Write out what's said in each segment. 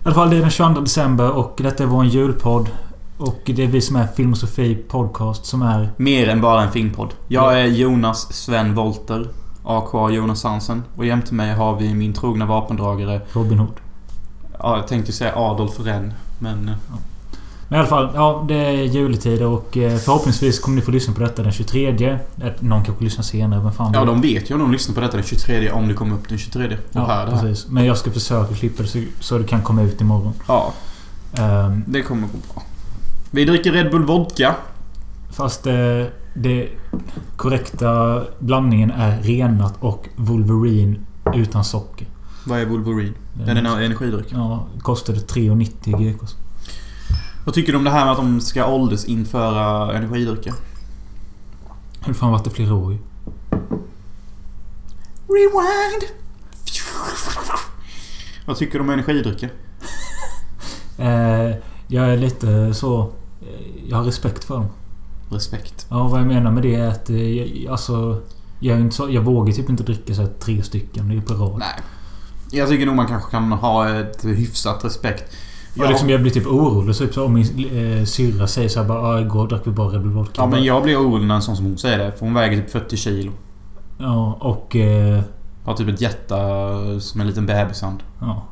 I alla fall det är den 22 december och detta är vår julpodd. Och det är vi som är Filmosofi Podcast som är... Mer än bara en filmpodd. Jag är Jonas Sven Volter, A.K. Jonas Hansen. Och jämte mig har vi min trogna vapendragare, Robin Hood. ja, jag tänkte säga Adolf Renn, men... Men i alla fall, ja det är juletid och eh, förhoppningsvis kommer ni få lyssna på detta den 23. Att Någon kanske lyssnar senare, men fan Ja, vet. de vet ju om de lyssnar på detta den 23 om det kommer upp den 23. Ja, ja här, det här. precis. Men jag ska försöka klippa det så, så det kan komma ut imorgon. ja, Ehm, det kommer gå bra. Vi dricker Red Bull Vodka. fast eh, det korrekta blandningen är renat och Wolverine utan socker. Vad är Wolverine? Mm. Den är en energidryck. Ja, kostade 3,90 GKs. Vad tycker du om det här med att de ska åldersinföra energidrycker? Hur fan vart det flera år ju? Rewind! Vad tycker du om energidrycker? Eh, jag är lite så... eh, Jag har respekt för dem. Respekt. Ja, vad jag menar med det är att... eh, Jag, alltså... Jag, är inte så, jag vågar typ inte dricka så här tre stycken. Det är ju på rad. Nej. Jag tycker nog man kanske kan ha ett hyfsat respekt. Jag, liksom, jag blir typ orolig. Typ, så om min eh, syrra säger så här bara "Ah, igår drack vi bara Red Bull Vodka. ja, men jag blir orolig när en sån som hon säger det. För hon väger typ 40 kilo. Ja, och... Eh, Har typ ett hjärta som en liten bebishand. ja.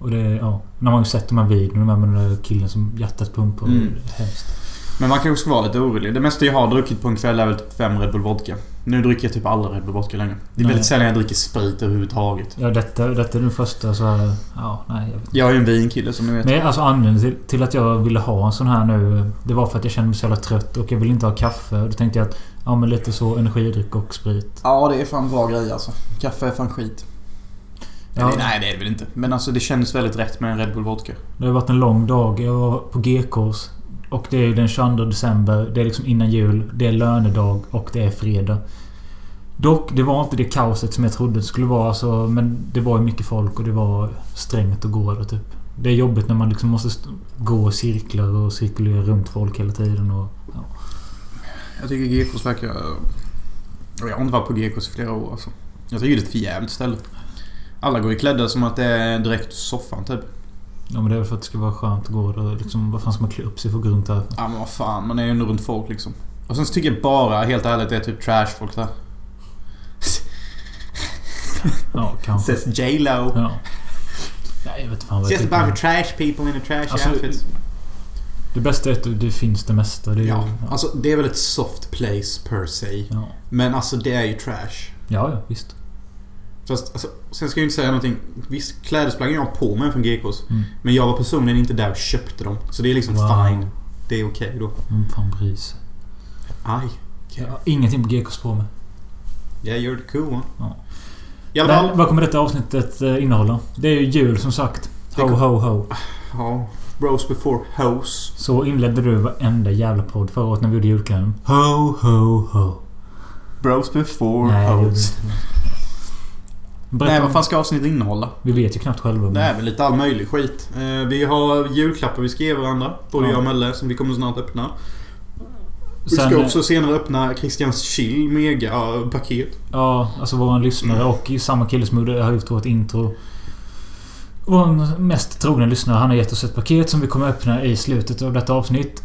Och det... Ja. När man har sett de här videorna med den där killen som hjärtat pumpar. Mm. Hemskt. Men man kanske ska vara lite orolig. Det mesta jag har druckit på en kväll är väl typ fem Red Bull Vodka. Nu dricker jag typ aldrig Red Bull Vodka längre. Det är Nej. väldigt sällan jag dricker sprit överhuvudtaget. Ja, detta, detta är den första så här... Ja, nej. Jag vet Jag är ju en vinkille som ni vet. Men alltså anledningen till, till att jag ville ha en sån här nu Det var för att jag kände mig så jävla trött och jag ville inte ha kaffe. Och då tänkte jag att ja men lite så energidryck och sprit. Ja, det är fan bra grej alltså. Kaffe är fan skit. Ja, Eller, nej, det är det väl inte. Men alltså det kändes väldigt rätt med en Red Bull Vodka. det har varit en lång dag. Jag var på GKs. Och det är ju den 22 december. Det är liksom innan jul. Det är lönedag och det är fredag. Dock, det var inte det kaoset som jag trodde det skulle vara. Alltså, men det var ju mycket folk och det var strängt att gå över typ. Det är jobbigt när man liksom måste st- gå i cirklar och cirkulera runt folk hela tiden. Och, ja. Jag tycker GKs verkar... Jag har inte varit på GKs i flera år alltså. Jag tycker det är ett förjävligt ställe. Alla går ju klädda som att det är direkt ur soffan typ. Ja men det är väl för att det ska vara skönt att gå där och liksom, vad fan ska man klä upp sig för att gå runt där? Ja men vad fan, man är ju ändå runt folk liksom. Och sen så tycker jag bara, helt ärligt, det är typ trashfolk där. Ja, kanske. Says J.Lo. Ja. Nej, jag vet fan vad jag Says tycker. about trash people in a trash Alltså, outfit. Det bästa är att det finns det mesta. Det är, ju- Ja, alltså det är väl ett soft place per se. ja. Men alltså det är ju trash. Ja, ja, visst. Fast, alltså, sen ska jag ju inte säga någonting. Visst, klädesplaggen jag har på mig är från GKs. Mm. Men jag var personligen inte där och köpte dem. Så det är liksom Wow. fine. Det är okej då. Vem fan bryr sig? Aj. Jag har ingenting på GKs på mig. Jag gör det cool va? Ja. I alla Men, fall. vad kommer detta avsnittet eh, innehålla? Det är ju jul som sagt. Ho, Det- ho, ho. Ja. Bros before hoes. Så inledde du varenda jävla podd förra året när vi gjorde julkalendern. Ho, ho, ho. Bros before Nej, det gjorde vi hoes. inte. Berätta Nej, om- vad fan ska avsnittet innehålla? Vi vet ju knappt själva. men- Det är väl lite all möjlig skit. Eh, Vi har julklappar vi ska ge varandra. Både Ja. jag och Melle, som vi kommer snart öppna. Vi Sen, ska eh, också senare öppna Christians chill mega-paket. Ja, alltså våran lyssnare och samma kille som gjorde- har gjort vårt intro. Vår mest trogna lyssnare, han har gett oss ett paket som vi kommer öppna i slutet av detta avsnitt.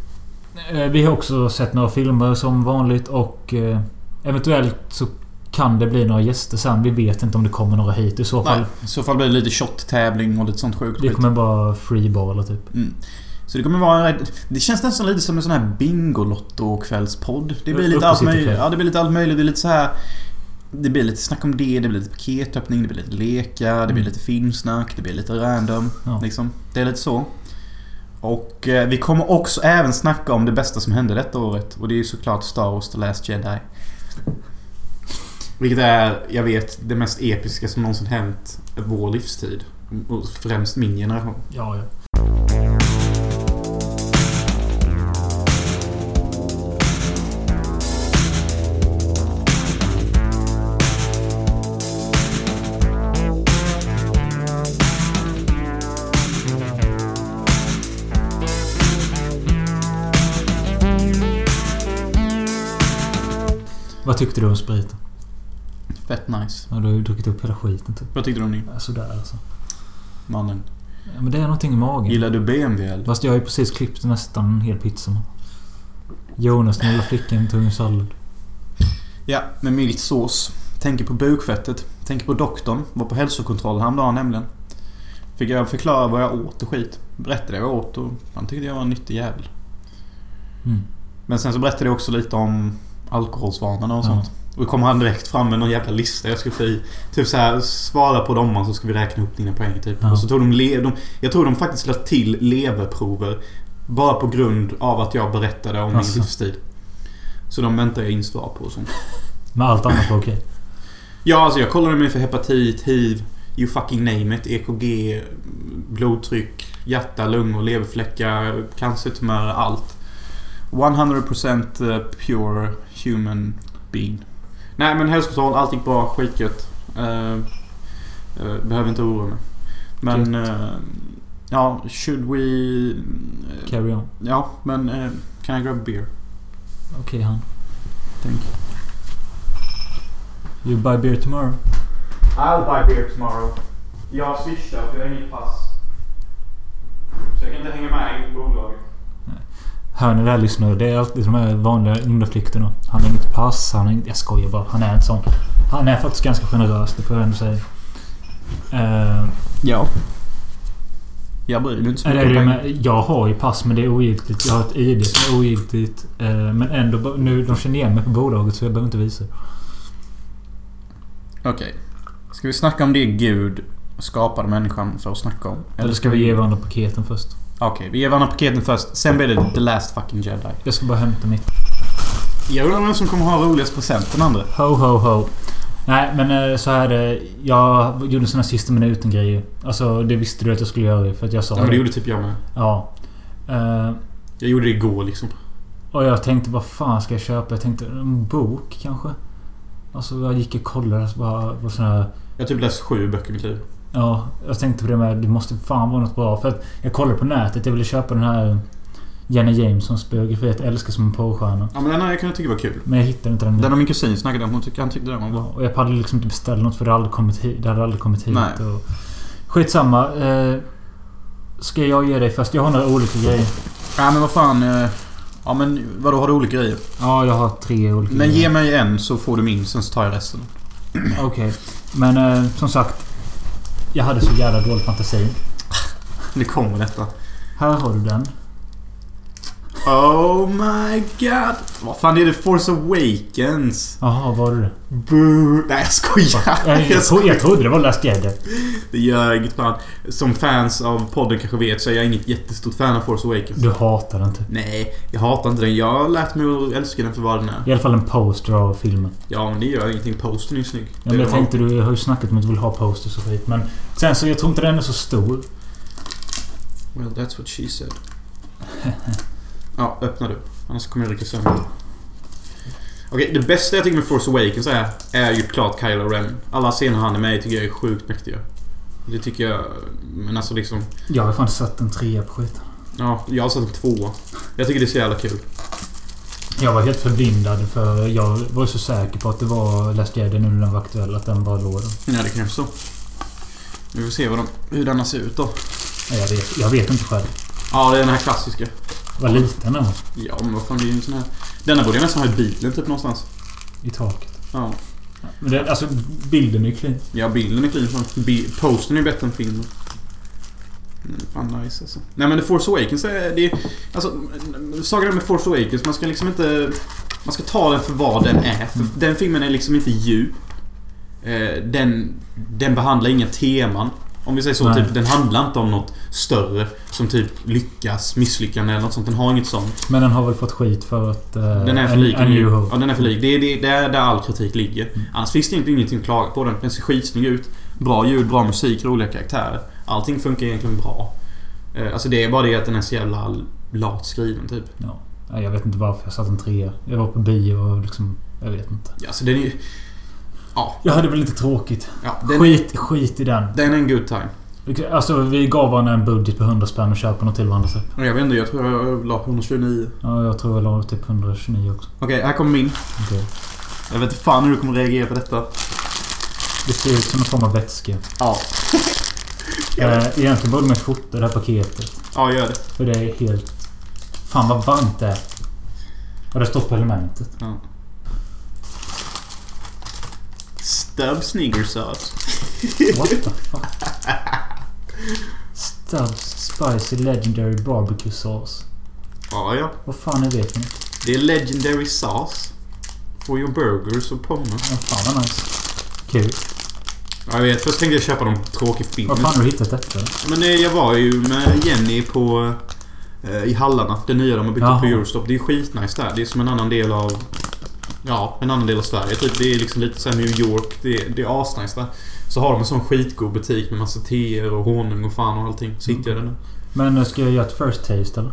Eh, Vi har också sett några filmer som vanligt och eh, eventuellt så kan det bli några gäster sen. Vi vet inte om det kommer några hit i så fall. Nej, i så fall blir det lite shot-tävling och lite sånt sjukt Vi skit. kommer bara freeballa typ. Mm. Så det kommer vara en rätt- Det känns nästan lite som en sån här Bingolotto-kvällspodd. Det blir Upp- upp lite och allt sitta möjligt. kväll. Ja, det blir lite allt möjligt. Det är lite så här... Det blir lite snack om det, det blir lite paketöppning, det blir lite lekar, det blir Mm. lite filmsnack, det blir lite random. Ja. Liksom. Det är lite så. Och eh, vi kommer också även snacka om det bästa som hände detta året. Och det är ju såklart Star Wars The Last Jedi. Vilket är, jag vet, det mest episka som någonsin hänt vår livstid. Och främst min generation. Ja, ja. Vad tyckte du om spriten? Fett nice. Ja, du har ju druckit upp hela skiten typ. Vad tyckte du om din Ja, Sådär alltså. mannen? Ja, men det är någonting i magen. Gillar du BMW eller? Fast jag har ju precis klippt nästan en hel pizza. nu. Jonas, den lilla flickan, tog en sallad. Ja, med mild sås. Tänker på bukfettet. Tänker på doktorn. Var på hälsokontrollen häromdagen nämligen. Fick jag förklara vad jag åt och skit. Berättade jag vad jag åt och han tyckte jag var en nyttig jävel. Mm. Men sen så berättade jag också lite om alkoholsvanorna och Ja. sånt. Och då kom han direkt fram med någon jävla lista jag skulle få i. Typ så här, svara på domaren så ska vi räkna upp dina poäng typ. Ja. Och så tog de, le- de... Jag tror de faktiskt lade till leverprover. Bara på grund av att jag berättade om Alltså. min livsstil. Så de väntar jag in svar på och sånt. Men allt annat var okej. Ja, alltså jag kollade mig för hepatit, hiv, you fucking name it, EKG, blodtryck, hjärta, lungor, leverfläckar, cancertumörer, allt. 100% pure human being. Nej men hälsokontroll, allt gick bra, skitgött. Eh, eh, behöver inte oroa mig. Men... eh, ja, should we... eh, Carry on. ja, men... eh, can I grab a beer? Okej, han. Thank you. You buy beer tomorrow. I'll buy beer tomorrow. Jag swishar för jag har inget pass. Så jag kan inte hänga med i bolaget. Hör ni det här lyssnare? Det är alltid de här vanliga undanflykterna. Han har inget pass, han har inget... Jag skojar bara. Han är en sån. Han är faktiskt ganska generös, det får jag ändå säga. Eh, Ja. Jag bryr mig inte så är det mycket det om pengar. med, jag har ju pass men det är ogiltigt. Jag har ett ID som är ogiltigt. Eh, men ändå, ba- nu de känner igen mig på bolaget så jag behöver inte visa. Okej. Ska vi snacka om det Gud skapade människan för att snacka om? Eller ska vi ge varandra paketen först? Okej, vi ger varandra paketen först. Sen blir det The Last Fucking Jedi. Jag ska bara hämta mitt. Jag undrar vem som kommer ha roligast present, den andra. Ho, ho, ho. Nej, men eh, så här eh, Jag gjorde en sån här sista minuten grejer. Alltså, det visste du att jag skulle göra ju, för att jag sa Ja, men det gjorde typ jag med. Ja. Eh, Jag gjorde det igår liksom. och jag tänkte, vad fan ska jag köpa? Jag tänkte, en bok kanske? Alltså, jag gick och kollade och så bara... Var sån här, Jag har typ läst sju böcker i mitt liv. Ja, jag tänkte på det med. Det måste fan vara något bra. För att jag kollade på nätet. Jag ville köpa den här Jenny Jamesons biografi. Att älska som en porrstjärna. Ja, men den här jag kunde tycka var kul. Men jag hittade inte den. Den har min kusin snackat om. Hon tyckte, han tyckte den var bra. Och jag hade liksom inte beställt något för det hade aldrig kommit hit. Det hade aldrig kommit hit Nej. och... Skitsamma. Eh, ska jag ge dig först? Jag har några olika grejer. Ja, men vad fan. eh, Ja, men vadå, har du olika grejer? Ja, jag har tre olika Men ge grejer. mig en så får du min, sen så tar jag resten. Okej. Men eh, som sagt. Jag hade så jävla dålig fantasi. Nu kommer detta. Här har du den. Oh my god! Vad fan är det? Force Awakens? Jaha, var det det? Boo. Nej, jag skojar! Jag, Jag jag, skojar. tro, jag trodde det var Last Jedi. Det gör inget fan. Som fans av podden kanske vet så är jag inget jättestort fan av Force Awakens. Du hatar den typ. Nej, jag hatar inte den. Jag har lärt mig att älska den för vad den är. I alla fall en poster av filmen. Ja, men det gör ingenting. Posten är ju snygg. Ja, men Det jag var- tänkte du har ju snackat om att du vill ha posters och skit. Men sen så jag tror inte den är så stor. Well, that's what she said. ja, öppna du. Annars kommer jag rycka sönder. Okej, det bästa jag tycker med Force Awakens är, är ju klart Kylo Ren. Alla scener han är med i tycker jag är sjukt mäktiga. Det tycker jag... Men alltså liksom... Jag har fan satt en trea på skiten. Ja, jag har satt en tvåa. Jag tycker det är så jävla kul. Jag var helt förblindad för jag var så säker på att det var Last Jedi nu när den var aktuell. Att den var lådan. Ja, det kan jag förstå. Vi får se vad de, hur denna ser ut då. Nej, Jag vet, jag vet inte själv. Ja, det är den här klassiska. Vad liten den var. Ja, men vad fan, det är ju en sån här... Denna borde jag nästan ha i bilen typ någonstans. I taket. Ja. Men det, alltså bilden är ju clean. Ja, bilden är clean. Fan. Bi- Posten är bättre än filmen. Mm, Fan nice alltså. Nej men The Force Awakens är... Det är alltså, sagan med Force Awakens, man ska liksom inte... Man ska ta den för vad den är. För Mm. Den filmen är liksom inte djup. Eh, Den, den behandlar inga teman. Om vi säger så, Nej. typ, den handlar inte om något större. Som typ lyckas, misslyckande eller något sånt. Den har inget sånt. Men den har väl fått skit för att... eh, Den är för en- lik. en New Hope. Ja, den är för lik. Det är det, det är där all kritik ligger. Mm. Annars finns det egentligen ingenting att klaga på. Den, den ser skitsnygg ut. Bra ljud, bra musik, roliga karaktärer. Allting funkar egentligen bra. Eh, Alltså det är bara det att den är så jävla lat skriven typ. Ja. Nej, Jag vet inte varför jag satt en trea. Jag var på bio och liksom... Jag vet inte. Ja, Alltså den är ju... Ja. Jag hade väl lite tråkigt. ja den, Skit, skit i den. den är en good time. Alltså vi gav varandra en budget på 100 spänn och köpte något till varandra typ. Och Jag vet inte, jag tror jag la 129. Ja, jag tror jag la typ 129 också. Okej, här kommer min. Okej. Jag vet inte fan hur du kommer reagera på detta. Det ser ut som en form av vätska. Ja. Gör det. Eh, egentligen borde man ju fota det här paketet. Ja, gör det. För det är helt... Fan vad varmt det är. Och det står på elementet. Stub alltså. sneaker sauce. What the fuck? Stubbs Spicy Legendary Barbecue Sauce. Ja, ja. Vad fan är det för något? Det är legendary sauce. For your burgers och pommes. Ja, fan vad nice. Kul. Ja, jag vet. Först tänkte jag köpa någon tråkig film. Var fan har du hittat detta? Men eh, jag var ju med Jenny på... Eh, I Hallarna. Det nya de har byggt upp Jaha. på Eurostop. Det är skitnice där. Det är som en annan del av... Ja, en annan del av Sverige. Typ. Det är liksom lite såhär New York. Det, det är asnice där. Så har de en sån skitgod butik med massa teer och honung och fan och allting. Så hittade jag den nu. Men eh, ska jag göra ett first taste eller?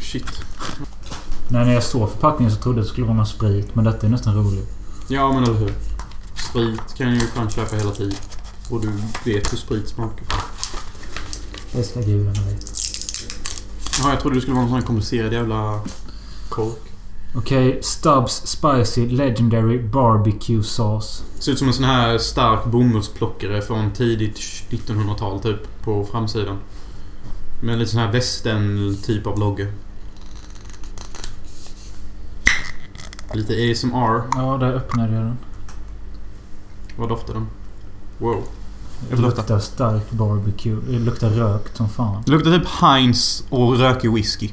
Shit. Nej, när jag såg förpackningen så trodde jag att det skulle vara någon sprit. Men detta är nästan roligt. Ja, men eller hur. Sprit kan jag ju fan köpa hela tiden. Och du vet hur sprit smakar. Det ska gudarna veta. Ja, jag trodde det skulle vara någon sån här komplicerad jävla... Kork. Okej, Stubbs Spicy Legendary Barbecue Sauce. Ser ut som en sån här stark bomullsplockare från tidigt 1900-tal typ på framsidan. Med lite sån här västern typ av logga. Lite ASMR. Ja, där öppnade jag den. Vad doftar den? Wow. Det Jag får lukta. luktar stark barbecue. Det luktar rökt som fan. Det luktar typ Heinz och rökig whisky.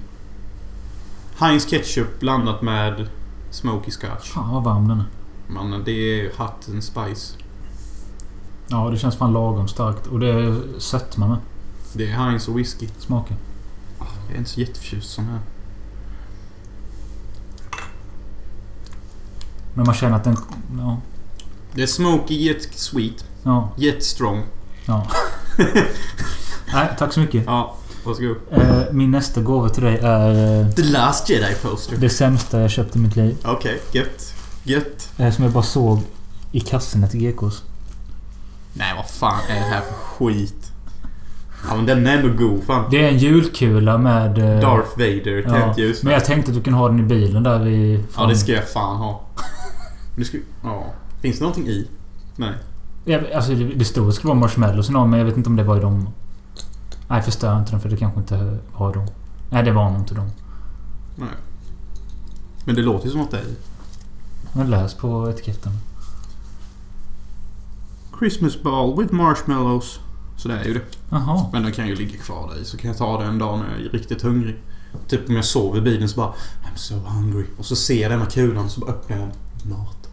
Heinz ketchup blandat med smoky scotch. Fan vad varm den är. Mannen, det är hot and spice. Ja, det känns fan lagom starkt. Och det är sötma med. Det är Heinz och whisky. Smaken. Jag är inte så jätteförtjust i sån här. Men man känner att den... Ja. Det är smoky yet sweet. Ja. Yet strong. Ja. Nej, tack så mycket. Ja, varsågod. Eh, Min nästa gåva till dig är eh, The Last Jedi poster. det sämsta jag köpt i mitt liv. Okej, gött. Gött. Eh, Som jag bara såg i kassorna till GKs. Nej, vad fan är det här för skit? Ja, men den är ändå god. Fan. Det är en julkula med... eh, Darth Vader, ja, tänt ljus. Men jag tänkte att du kan ha den i bilen där vi... Ja, det ska jag fan ha. Nu ska Ja. Finns det någonting i? Nej. jag... Alltså, det, det stod att det skulle vara marshmallows i någon, men jag vet inte om det var i dem. Nej, förstör inte den för det kanske inte var dem. Nej, det var nog inte dem. Men det låter ju som att det är i. Men läs på etiketten. Christmas ball with marshmallows. Så det är ju det. Jaha. Men den kan ju ligga kvar där i. Så kan jag ta den en dag när jag är riktigt hungrig. Typ om jag sover i bilen så bara I'm so hungry. Och så ser jag den här kulan så bara öppnar jag den. Mat.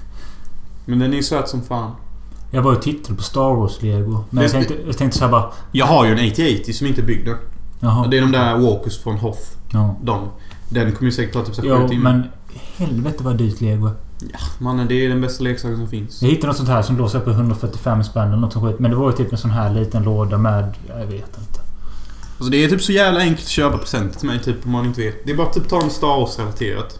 Men den är ju söt som fan. Jag var och tittade på Star Wars-lego. Men Det- jag tänkte, jag tänkte så här bara... Jag har ju en 8080 som inte är byggd än. Jaha. Det är de där Walkers från Hoth. Ja. De. Den kommer ju säkert ta typ så här sju Jo, timmar. men helvete vad dyrt lego är. Mannen, det är den bästa leksaken som finns. Jag hittade något sånt här som låser upp i 145 spänn eller något sånt skit. Men det var ju typ en sån här liten låda med... Jag vet inte. Alltså det är typ så jävla enkelt att köpa presenter till mig typ om man inte vet. Det är bara att typ ta en Star Wars-relaterat.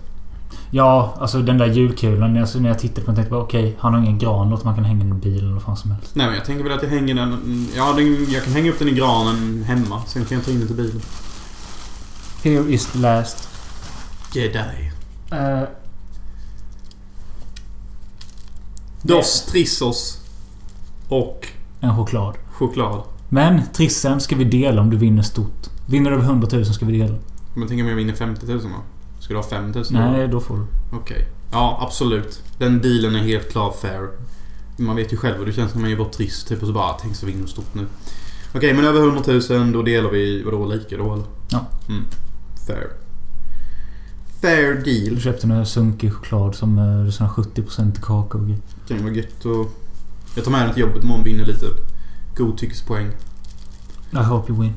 Ja, alltså den där julkulan. Alltså när jag tittade på den tänkte jag bara okej, han har ingen gran. Låt man kan hänga den i bilen eller vad fan som helst. Nej men jag tänker väl att jag hänger den... Ja, den, jag kan hänga upp den i granen hemma. Sen kan jag ta in den till bilen. Here is the last. Jedi. Eh, Dos Trissos. Och en choklad. choklad. Men trissen ska vi dela om du vinner stort. Vinner du över 100 000 ska vi dela. Men tänk om jag vinner 50 000 då? Ska du ha 5 000? Nej, då får du. Okej. Ja, absolut. Den dealen är helt klar fair. Man vet ju själv och det känns som man är bara trist typ och så bara tänk så vinner stort nu. Okej, men över 100 000 då delar vi vadå lika då eller? Ja. Mm. Fair. Fair Du deal. köpte en sunkig choklad som eh, det är sån här 70% kakao och grejer. Kan ju vara gött och... Jag tar med den till jobbet imorgon vinner lite godtyckespoäng. I hope you win.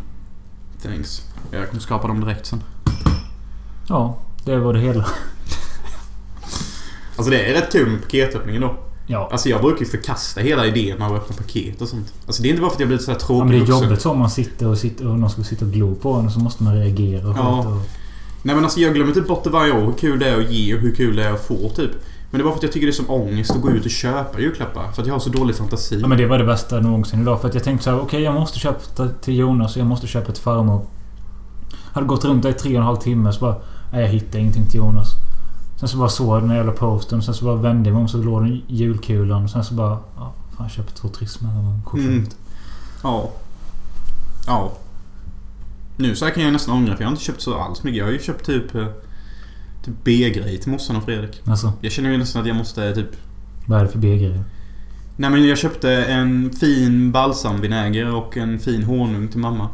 Thanks. Jag kommer skapa dem direkt sen. Ja, det var det hela. Alltså det är rätt kul med paketöppningen då. Ja. Alltså jag brukar ju förkasta hela idén med att öppna paket och sånt. Alltså det är inte bara för att jag blir så här Ja, men det tråkig är vuxen. jobbigt så om man sitter och, sitter och någon ska sitta och glo på en och så måste man reagera och Ja. skit och... Nej men alltså jag glömmer typ bort det varje år hur kul det är att ge och hur kul det är att få typ. Men det är bara för att jag tycker det är som ångest att gå ut och köpa julklappar. För att jag har så dålig fantasi. Ja men det var det bästa någonsin idag för att jag tänkte så här: okej jag måste köpa till Jonas och jag måste köpa till farmor. Hade gått runt där i tre och en halv timme så bara... Nej jag hittar ingenting till Jonas. Sen så bara såg jag den här jävla posten sen så bara vände jag mig om så låg den julkulan och sen så bara... Ja, fan jag köper två trismer och en korsett. Mm. Ja. Ja. Nu så här kan jag nästan ångra för jag har inte köpt så alls mycket. Jag har ju köpt typ... eh, Typ B-grejer till Mossan och Fredrik. Alltså, Jag känner ju nästan att jag måste typ... vad är det för B-grejer? Nej men jag köpte en fin balsamvinäger och en fin honung till mamma.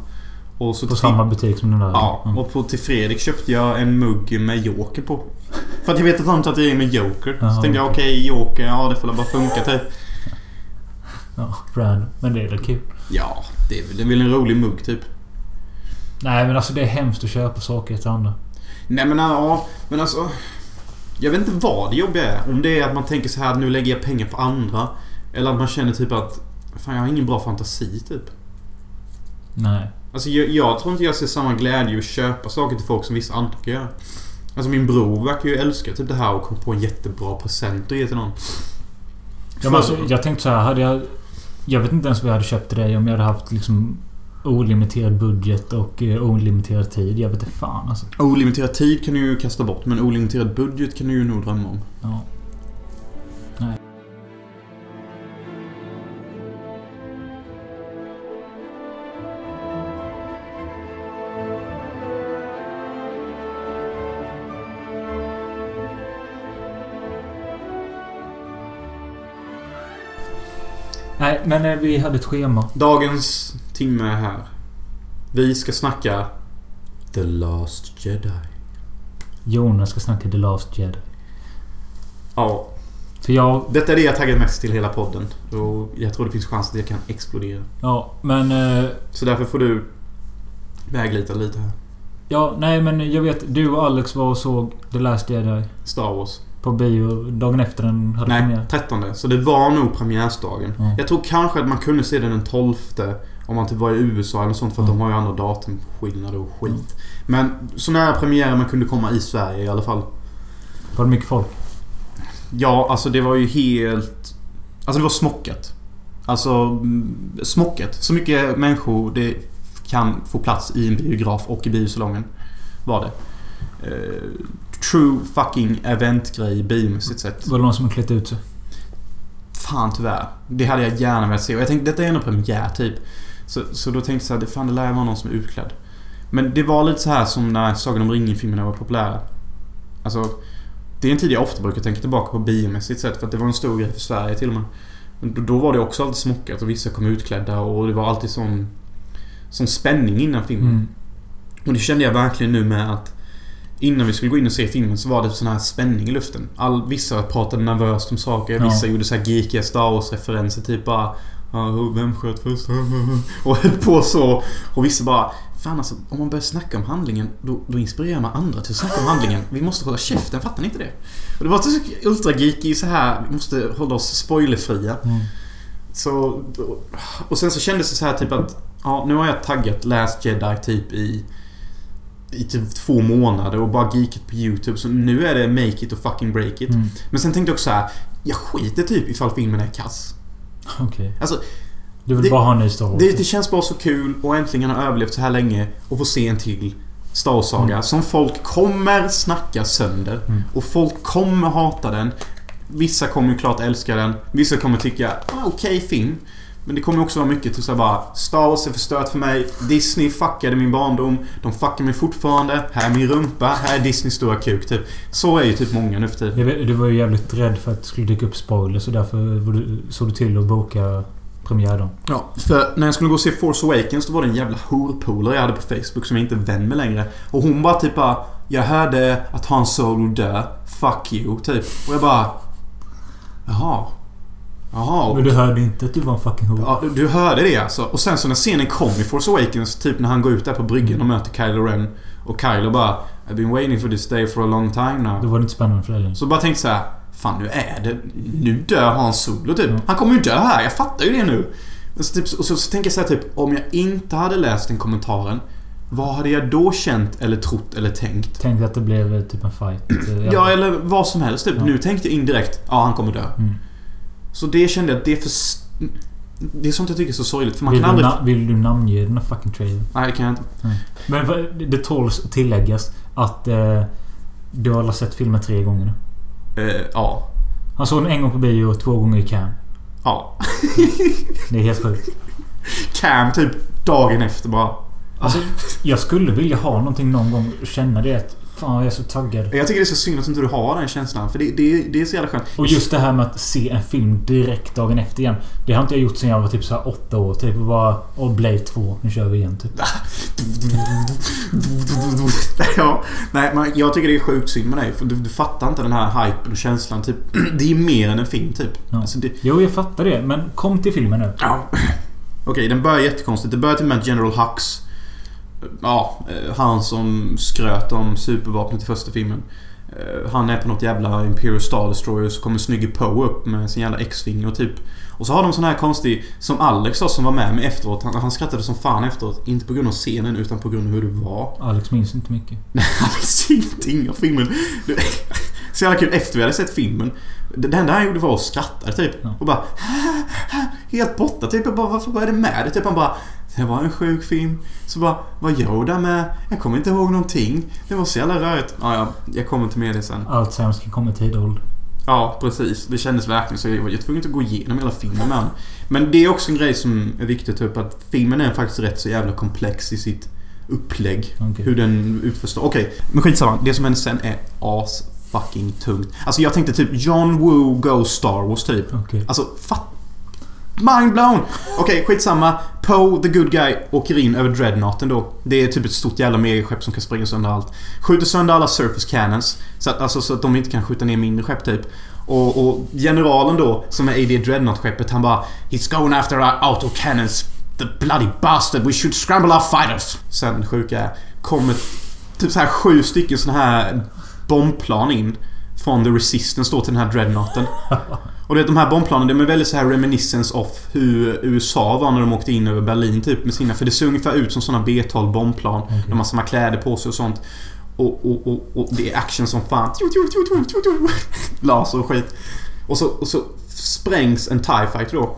Och så På till- samma butik som den där? Ja, Mm. och på, till Fredrik köpte jag en mugg med Joker på. För att jag vet att han tatuerar med Joker. Jaha, så tänkte jag okej, okej. Joker, ja det får väl bara funka typ. Ja, random. Men det är väl kul. Ja, det är väl, det är väl en rolig mugg typ. Nej men alltså det är hemskt att köpa saker till andra. Nej men ja, men alltså. Jag vet inte vad det jobbiga är. Om det är att man tänker så här, nu lägger jag pengar på andra. Eller att man känner typ att, fan jag har ingen bra fantasi typ. Nej. Alltså jag, jag tror inte jag ser samma glädje i att köpa saker till folk som vissa andra kan göra. Alltså min bror verkar ju älska typ det här och kom på en jättebra present att ge till någon. Ja, men alltså, jag tänkte så här, hade jag... Jag vet inte ens vad jag hade köpt till dig om jag hade haft liksom olimiterad budget och eh, olimiterad tid. Jag vet inte fan alltså. Olimiterad tid kan du ju kasta bort, men olimiterad budget kan du ju nog drömma om. Ja. Nej. Nej, men eh, vi hade ett schema. Dagens timme är här. Vi ska snacka... The Last Jedi. Jonas ska snacka The Last Jedi. Ja, För jag... detta är det jag taggar mest till hela podden. Och jag tror det finns chans att jag kan explodera. Ja, men... eh, Så därför får du väglita lite här. Ja, nej men jag vet. Du och Alex var och såg The Last Jedi Star Wars. på bio dagen efter den hade Nej, premiär. 13. Så det var nog premiärsdagen. Ja. Jag tror kanske att man kunde se den den 12 om man typ var i USA eller något sånt för att Mm. de har ju andra datumskillnader och skit. Mm. Men så nära premiären man kunde komma i Sverige i alla fall. Var det mycket folk? Ja, alltså det var ju helt... Alltså det var smockat. Alltså mm, smockat. Så mycket människor det kan få plats i en biograf och i biosalongen. Var det. Eh, true fucking eventgrej biomässigt sett. Var det någon som klätt ut sig? Fan tyvärr. Det hade jag gärna velat se. Och jag tänkte detta är ändå premiär typ. Så, så då tänkte jag så här, det fan det lär ju vara någon som är utklädd. Men det var lite så här som när Sagan om ringen-filmerna var populära. Alltså, det är en tid jag ofta brukar tänka tillbaka på biomässigt sett för att det var en stor grej för Sverige till och med. Men då, då var det också alltid smockat och vissa kom utklädda och det var alltid sån, sån spänning innan filmen. Mm. Och det kände jag verkligen nu med att Innan vi skulle gå in och se filmen så var det sån här spänning i luften. All, vissa pratade nervöst om saker, Ja. vissa gjorde så här geekiga Star Wars-referenser. Typ bara "Ja, Vem sköt först? Och höll på så. Och vissa bara Fan alltså, om man börjar snacka om handlingen då, då inspirerar man andra till att snacka om handlingen. Vi måste hålla käften, fattar ni inte det? Och det var så ultra-geeky så här vi måste hålla oss spoilerfria. Mm. Så, och sen så kändes det så här typ att ja, nu har jag taggat Last Jedi typ i i typ två månader och bara geekat på YouTube. Så nu är det make it och fucking break it. Mm. Men sen tänkte jag också så här, jag skiter typ ifall filmen är kass. Okej. Alltså, Du vill Det- bara ha en ny Star Wars? det, det känns bara så kul och äntligen har överlevt så här länge och få se en till Star Wars-saga Mm. som folk kommer snacka sönder. Mm. Och folk kommer hata den. Vissa kommer ju klart älska den. Vissa kommer tycka ah, okej film. Men det kommer också vara mycket till så här bara Star Wars är förstört för mig. Disney fuckade min barndom. De fuckar mig fortfarande. Här är min rumpa. Här är Disneys stora kuk typ. Så är ju typ många nu för tiden. Jag vet, du var ju jävligt rädd för att det skulle dyka upp spoilers så därför var du- såg du till att boka premiärdagen. Ja, för när jag skulle gå och se Force Awakens då var det en jävla horpolare jag hade på Facebook som jag inte är vän med längre. Och hon bara typ bara, Jag hörde att Han Solo dö. Fuck you, typ. Och jag bara... Jaha. Jaha. Men du hörde inte att du var en fucking hora? Ja, du hörde det alltså. Och sen så när scenen kom i Force Awakens, typ när han går ut där på bryggan och möter Kylo Ren. Och Kylo bara I've been waiting for this day for a long time Då now. var det inte spännande för dig längre. Så bara tänkte så här, Fan nu är det... Nu dör Han Solo typ. Mm. Han kommer ju dö här, jag fattar ju det nu. Men så, typ, och så, så tänker jag så här typ, om jag inte hade läst den kommentaren. Vad hade jag då känt eller trott eller tänkt? Tänkte att det blev eh, typ en fight. eh, Ja, eller vad som helst typ. Ja. Nu tänkte jag indirekt, ja han kommer dö. Mm. Så det kände jag, att det är för... Det är sånt jag tycker är så sorgligt för man vill, kan aldrig... du na- vill du namnge den här fucking trailern? Nej, det kan jag inte. Men vad- det tåls att tilläggas att eh, du har sett filmen tre gånger nu. Eh, ja. Han såg den en gång på bio och två gånger i cam. Ja. Det är helt sjukt. Cam typ dagen efter bara... Alltså, Jag skulle vilja ha någonting någon gång och känna det att fan jag är så taggad. jag tycker det är så synd att inte du har den känslan. För det, det, det är så jävla skönt. Och just det här med att se en film direkt dagen efter igen. Det har inte jag gjort sedan jag var typ så här åtta år. Typ och bara... Åh, Blade 2. Nu kör vi igen typ. ja, nej, men jag tycker det är sjukt synd med dig. För du, du fattar inte den här hypen och känslan. Typ, det är mer än en film typ. Ja. Alltså, det, Jo, jag fattar det. Men kom till filmen nu. Ja. Okej, den börjar jättekonstigt. Det börjar till och med att General Hux. Ja, eh, han som skröt om supervapnet i första filmen. Eh, Han är på något jävla Imperial Star Destroyer så kommer snygge Poe upp med sin jävla X-finger typ. Och så har de sån här konstig, som Alex sa som var med mig efteråt. Han, han skrattade som fan efteråt. Inte på grund av scenen utan på grund av hur det var. Alex minns inte mycket. Nej, han visste ingenting av filmen. Du- Så jävla kul efter vi hade sett filmen. Det det enda han gjorde var att skratta typ. Ja. Och bara... Helt borta typ. Jag bara, varför vad är det med det? Typ han bara... Det var en sjuk film. Så bara, vad gör där med? Jag kommer inte ihåg någonting. Det var så jävla rörigt. Ja, ja, jag kommer till med det sen. Alzheimers kan komma i tid och ålder. Ja, precis. Det kändes verkligen så. Jag var jag var tvungen att gå igenom hela filmen med honom. Men det är också en grej som är viktig att ta upp. Att filmen är faktiskt rätt så jävla komplex i sitt upplägg. Okej. Hur den utförs. Okej, men skitsamma. Det som händer sen är as fucking tungt. Alltså jag tänkte typ John Woo Go Star Wars typ. Okej. Alltså fatt... Mind blown! Okej, skitsamma. Poe, the good guy, åker in över dreadnoughten då. Det är typ ett stort jävla megaskepp som kan springa sönder allt. Skjuter sönder alla surface cannons. Så att, alltså, så att de inte kan skjuta ner mindre skepp typ. Och, och generalen då, som är i det dreadnought-skeppet, han bara He's going after our autocannons. The bloody bastard. We should scramble our fighters. Sen sjuka är, kommer typ så här sju stycken såna här bombplan in. Från the resistance då till den här dreadnoughten. Och du vet de här bombplanen, de är väldigt så här reminiscence of hur USA var när de åkte in över Berlin typ med sina. För det ser ungefär ut som såna B-12 bombplan. Okej. De har samma kläder på sig och sånt. Och, och, och, och det är action som fan. Tju, tju, tju, tju, tju, tju. Laser och skit. Och så, och så sprängs en TIE fighter då.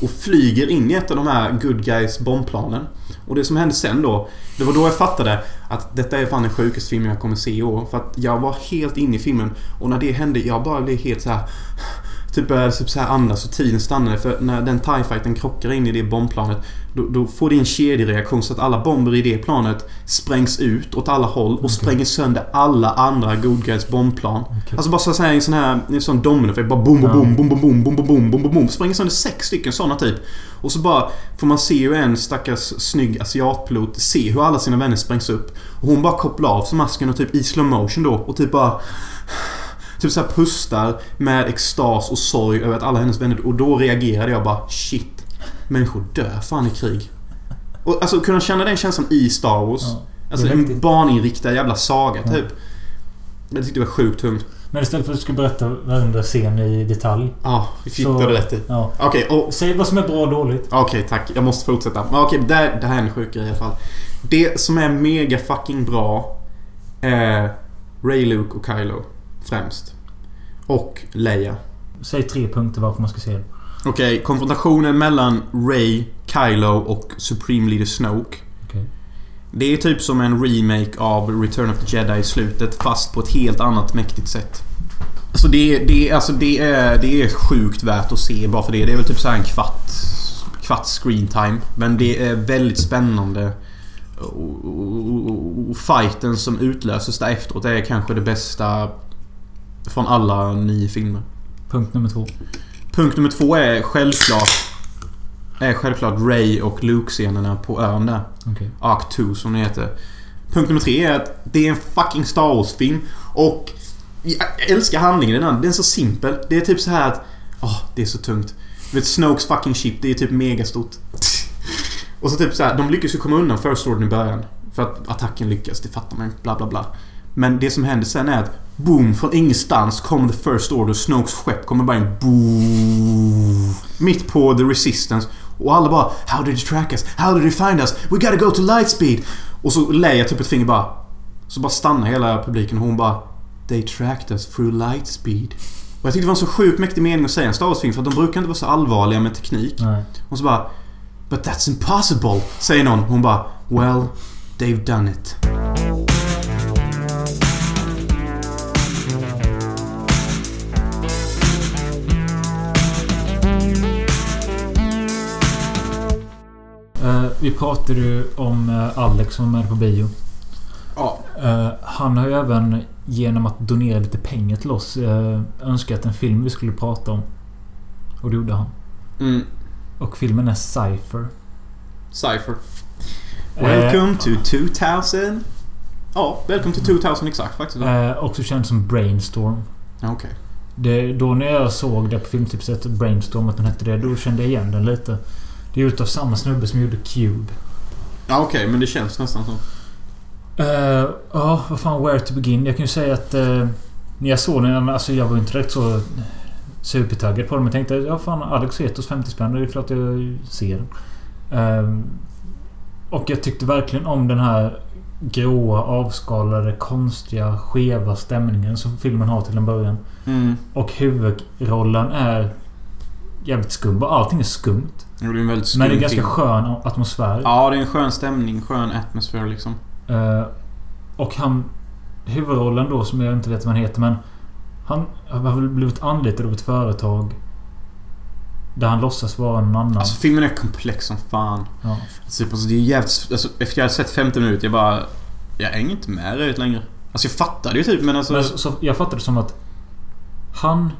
Och flyger in i ett av de här good guys bombplanen. Och det som hände sen då. Det var då jag fattade att detta är fan den sjukaste filmen jag kommer se i år. För att jag var helt inne i filmen. Och när det hände, jag bara blev helt så här. Typ började typ så här andas och tiden stannade för när den TIE fighten krockar in i det bombplanet då, då får det en kedjereaktion så att alla bomber i det planet sprängs ut åt alla håll och spränger sönder alla andra good guys bombplan. Alltså bara så att säga en sån här en sån dominoeffekt. Bara boom, boom, boom, boom, boom, boom, boom, boom, boom, boom, boom, boom. Spränger sönder sex stycken såna typ. Och så bara får man se hur en stackars snygg asiatpilot se hur alla sina vänner sprängs upp. Och hon bara kopplar av sig masken och typ i slow motion då och typ bara Typ såhär pustar med extas och sorg över att alla hennes vänner... Och då reagerade jag bara shit. Människor dör fan i krig. Och alltså kunna känna den känslan i Star Wars. Ja, alltså det är en riktigt. barninriktad jävla saga Ja. typ. Jag tyckte det var sjukt tungt. Men istället för att du ska berätta varenda scen i detalj. Ja, vi fick Så- det rätt i. Ja. Okej, och Säg vad som är bra och dåligt. Okej, tack. Jag måste fortsätta. Men okej, det, det här är en sjuk grej i alla fall. Det som är mega fucking bra är Ray, Luke och Kylo. Främst. Och Leia. Säg tre punkter varför man ska se den. Okej, konfrontationen mellan Ray, Kylo och Supreme Leader Snoke. Okej. Det är typ som en remake av Return of the Jedi i slutet fast på ett helt annat mäktigt sätt. Så det, det, alltså det, är, det är sjukt värt att se bara för det. Det är väl typ så här en kvart, kvart screen time. Men det är väldigt spännande. Och, och, och, och fighten som utlöses där efteråt är kanske det bästa från alla nio filmer. Punkt nummer två. Punkt nummer två är självklart... Är självklart Ray och Luke-scenerna på ön där. Okej. Arc 2 som det heter. Punkt nummer tre är att det är en fucking Star Wars-film. Och jag älskar handlingen i den. här. Den är så simpel. Det är typ så här att... Åh, det är så tungt. Du vet, Snokes fucking ship, det är typ megastort. Och så typ så här, de lyckas ju komma undan First Order i början. För att attacken lyckas, det fattar man ju. Bla, bla, bla. Men det som händer sen är att boom, från ingenstans kommer The First Order. Snokes skepp kommer bara in. Boom. Mitt på The Resistance. Och alla bara How did you track us? How did you find us? We gotta go to lightspeed! Och så Leia typ ett finger bara. Så bara stannar hela publiken och hon bara They tracked us through lightspeed. Och jag tyckte det var en så sjukt mäktig mening att säga i en Star Wars-film för att de brukar inte vara så allvarliga med teknik. Nej. Och så bara But that's impossible, säger någon. Hon bara Well, they've done it. Eh, vi pratade ju om eh, Alex som är med på bio. Ja, Eh, han har ju även genom att donera lite pengar till oss eh, önskat en film vi skulle prata om. Och det gjorde han. mm. Och filmen är Cypher. Cypher. Eh, Welcome to 2000. Ja, Welcome to 2000 exakt faktiskt. Ja, Eh, också känd som Brainstorm. Okej. Det, då när jag såg det på filmtipset, Brainstorm, att den hette det, då kände jag igen den lite. Det är utav samma snubbe som gjorde Cube. Ja, okej, men det känns nästan som... Eh, Ja, vad fan, where to begin? Jag kan ju säga att eh, när jag såg den, alltså jag var ju inte direkt så supertaggad på den. Men tänkte, ja fan, Alex Etos 50 spänn, det är klart jag ser den. Eh, och jag tyckte verkligen om den här gråa, avskalade, konstiga, skeva stämningen som filmen har till en början. Mm. Och huvudrollen är jävligt skum. Bara Allting är skumt. Jo, det är en väldigt skum men det är ganska film. skön atmosfär. Ja, det är en skön stämning, skön atmosfär liksom. Eh, och han... Huvudrollen då, som jag inte vet vad han heter, men... Han har väl blivit anlitad av ett företag. Där han låtsas vara någon annan. Alltså filmen är komplex som fan. ja. Typ, alltså, det är jävligt... Alltså, efter jag hade sett 50 minuter, jag bara... Jag hänger inte med riktigt längre. Alltså jag fattade ju typ, men alltså... men så, så, jag fattar det som att... Han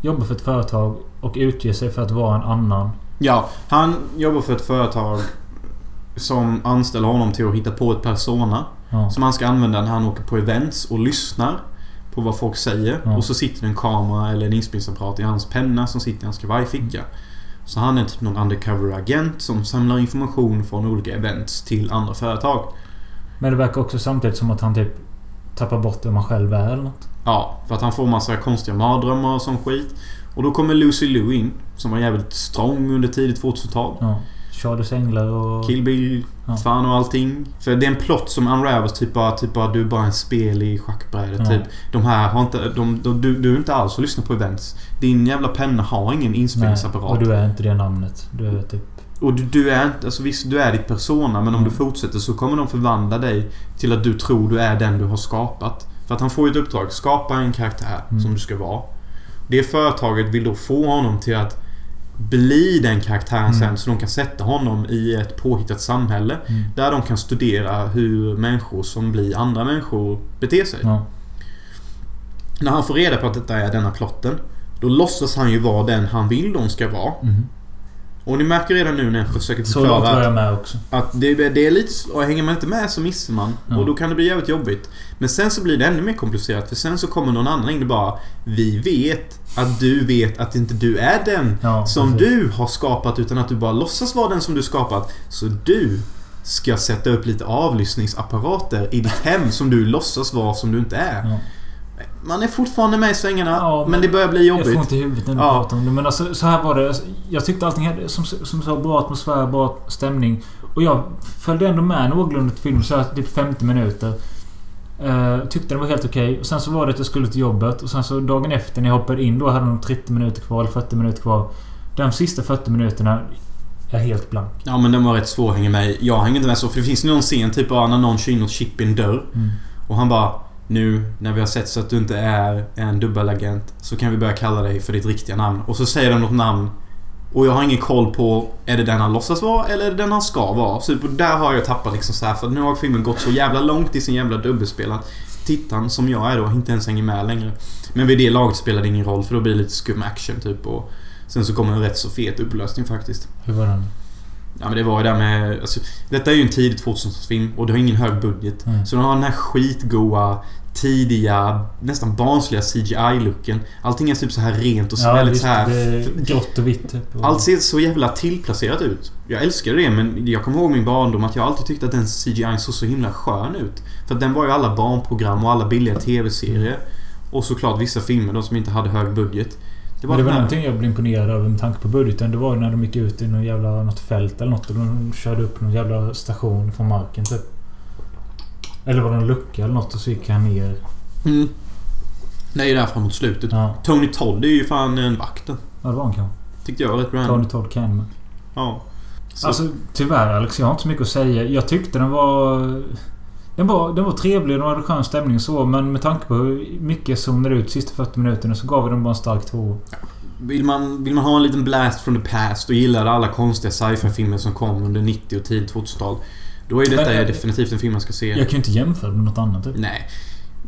jobbar för ett företag och utger sig för att vara en annan. Ja, han jobbar för ett företag som anställer honom till att hitta på ett persona. Ja. Som han ska använda när han åker på events och lyssnar på vad folk säger. Ja. Och så sitter det en kamera eller en inspelningsapparat i hans penna som sitter i hans kavajficka. Så han är typ någon undercover-agent som samlar information från olika events till andra företag. Men det verkar också samtidigt som att han typ... Tappar bort vem man själv är eller något. Ja, för att han får massa konstiga mardrömmar och sån skit. Och då kommer Lucy Liu in, som var jävligt strong under tidigt 2000-tal. Ja. Charles Änglar och... Kill Bill, Ja. fan och allting. För det är en plott som unravels typ bara, typ bara du är bara en spel i schackbrädet Ja. typ. De här har inte, de, de, du, du är inte alls och lyssnar på events. Din jävla penna har ingen Nej, inspelningsapparat. och du är inte det namnet. Du är typ... Och du, du är inte, alltså visst du är ditt persona men om Mm. du fortsätter så kommer de förvandla dig till att du tror du är den du har skapat. För att han får ju ett uppdrag, skapa en karaktär Mm. som du ska vara. Det företaget vill då få honom till att bli den karaktären Mm. sen så de kan sätta honom i ett påhittat samhälle. Mm. Där de kan studera hur människor som blir andra människor beter sig. Ja. När han får reda på att detta är denna plotten, då låtsas han ju vara den han vill de ska vara. Mhm. Och ni märker redan nu när jag försöker Så långt förklara var att, jag med också. att det, det är lite... s- Och hänger man inte med så missar man. Ja. Och då kan det bli jävligt jobbigt. Men sen så blir det ännu mer komplicerat för sen så kommer någon annan in och bara Vi vet att du vet att inte du är den Ja, som precis. du har skapat utan att du bara låtsas vara den som du skapat. Så du ska sätta upp lite avlyssningsapparater i ditt hem som du låtsas vara som du inte är. Ja. Man är fortfarande med i svängarna Ja, men, men det börjar bli Jag får jobbigt. inte i huvudet när du Ja. pratar om det. Men alltså, så här var det. Alltså, Jag tyckte allting hade, som, som sa, bra atmosfär, bra stämning. Och jag följde ändå med någorlunda till filmen. Så här, typ 50 minuter. Eh, tyckte den var helt okej. Och sen så var det att jag skulle till jobbet. Och sen så dagen efter när jag hoppade in då hade de 30 minuter kvar, eller 40 minuter kvar. De sista 40 minuterna är helt blank. Ja men den var rätt svår att hänga med i. Jag hänger inte med så för det finns någon scen typ bara när någon kör in något chip i en dörr. Mm. Och han bara Nu när vi har sett så att du inte är en dubbelagent så kan vi börja kalla dig för ditt riktiga namn. Och så säger de något namn. Och jag har ingen koll på Är det den han låtsas vara eller är det den han ska vara? Så typ, där har jag tappat liksom så här för nu har filmen gått så jävla långt i sin jävla dubbelspel att tittaren som jag är då inte ens hänger med längre. Men vid det laget spelar det ingen roll för då blir det lite skum action typ och Sen så kommer en rätt så fet upplösning faktiskt. Hur var den? Ja men det var ju där med... Alltså, detta är ju en tidigt 2000-film och det har ingen hög budget. Mm. Så de har den här skitgoa, tidiga, nästan barnsliga CGI-looken. Allting är typ så här rent och så väldigt visst, så här... det är grått och vitt. Typ. Och- Allt ser så jävla tillplacerat ut. Jag älskade det men jag kommer ihåg min barndom att jag alltid tyckte att den CGI såg så himla skön ut. För att den var ju alla barnprogram och alla billiga TV-serier. Och såklart vissa filmer då som inte hade hög budget. Det var, det den var här- någonting jag blev imponerad över med tanke på budgeten. Det var ju när de gick ut i någon jävla, något fält eller något och de körde upp någon jävla station från marken typ. Eller var det en lucka eller något och så gick han ner. Mm. Det är ju där framåt slutet. Ja, Tony Todd är ju fan en vakten. ja det var han kanske. Tyckte jag var rätt random. Tony Todd Canman. Ja. Mm. Så, Alltså tyvärr Alex, jag har inte så mycket att säga. Jag tyckte den var... Den var, den var trevlig, den hade skön stämning och så men med tanke på hur mycket jag zonade ut sista 40 minuterna så gav vi den bara en stark två. Vill man, vill man ha en liten blast from the past och gillar alla konstiga sci-fi-filmer som kom under 90 och tidigt 2000-tal. Då är detta Men, eh, definitivt en film man ska se. Jag kan ju inte jämföra med något annat. Typ. Nej,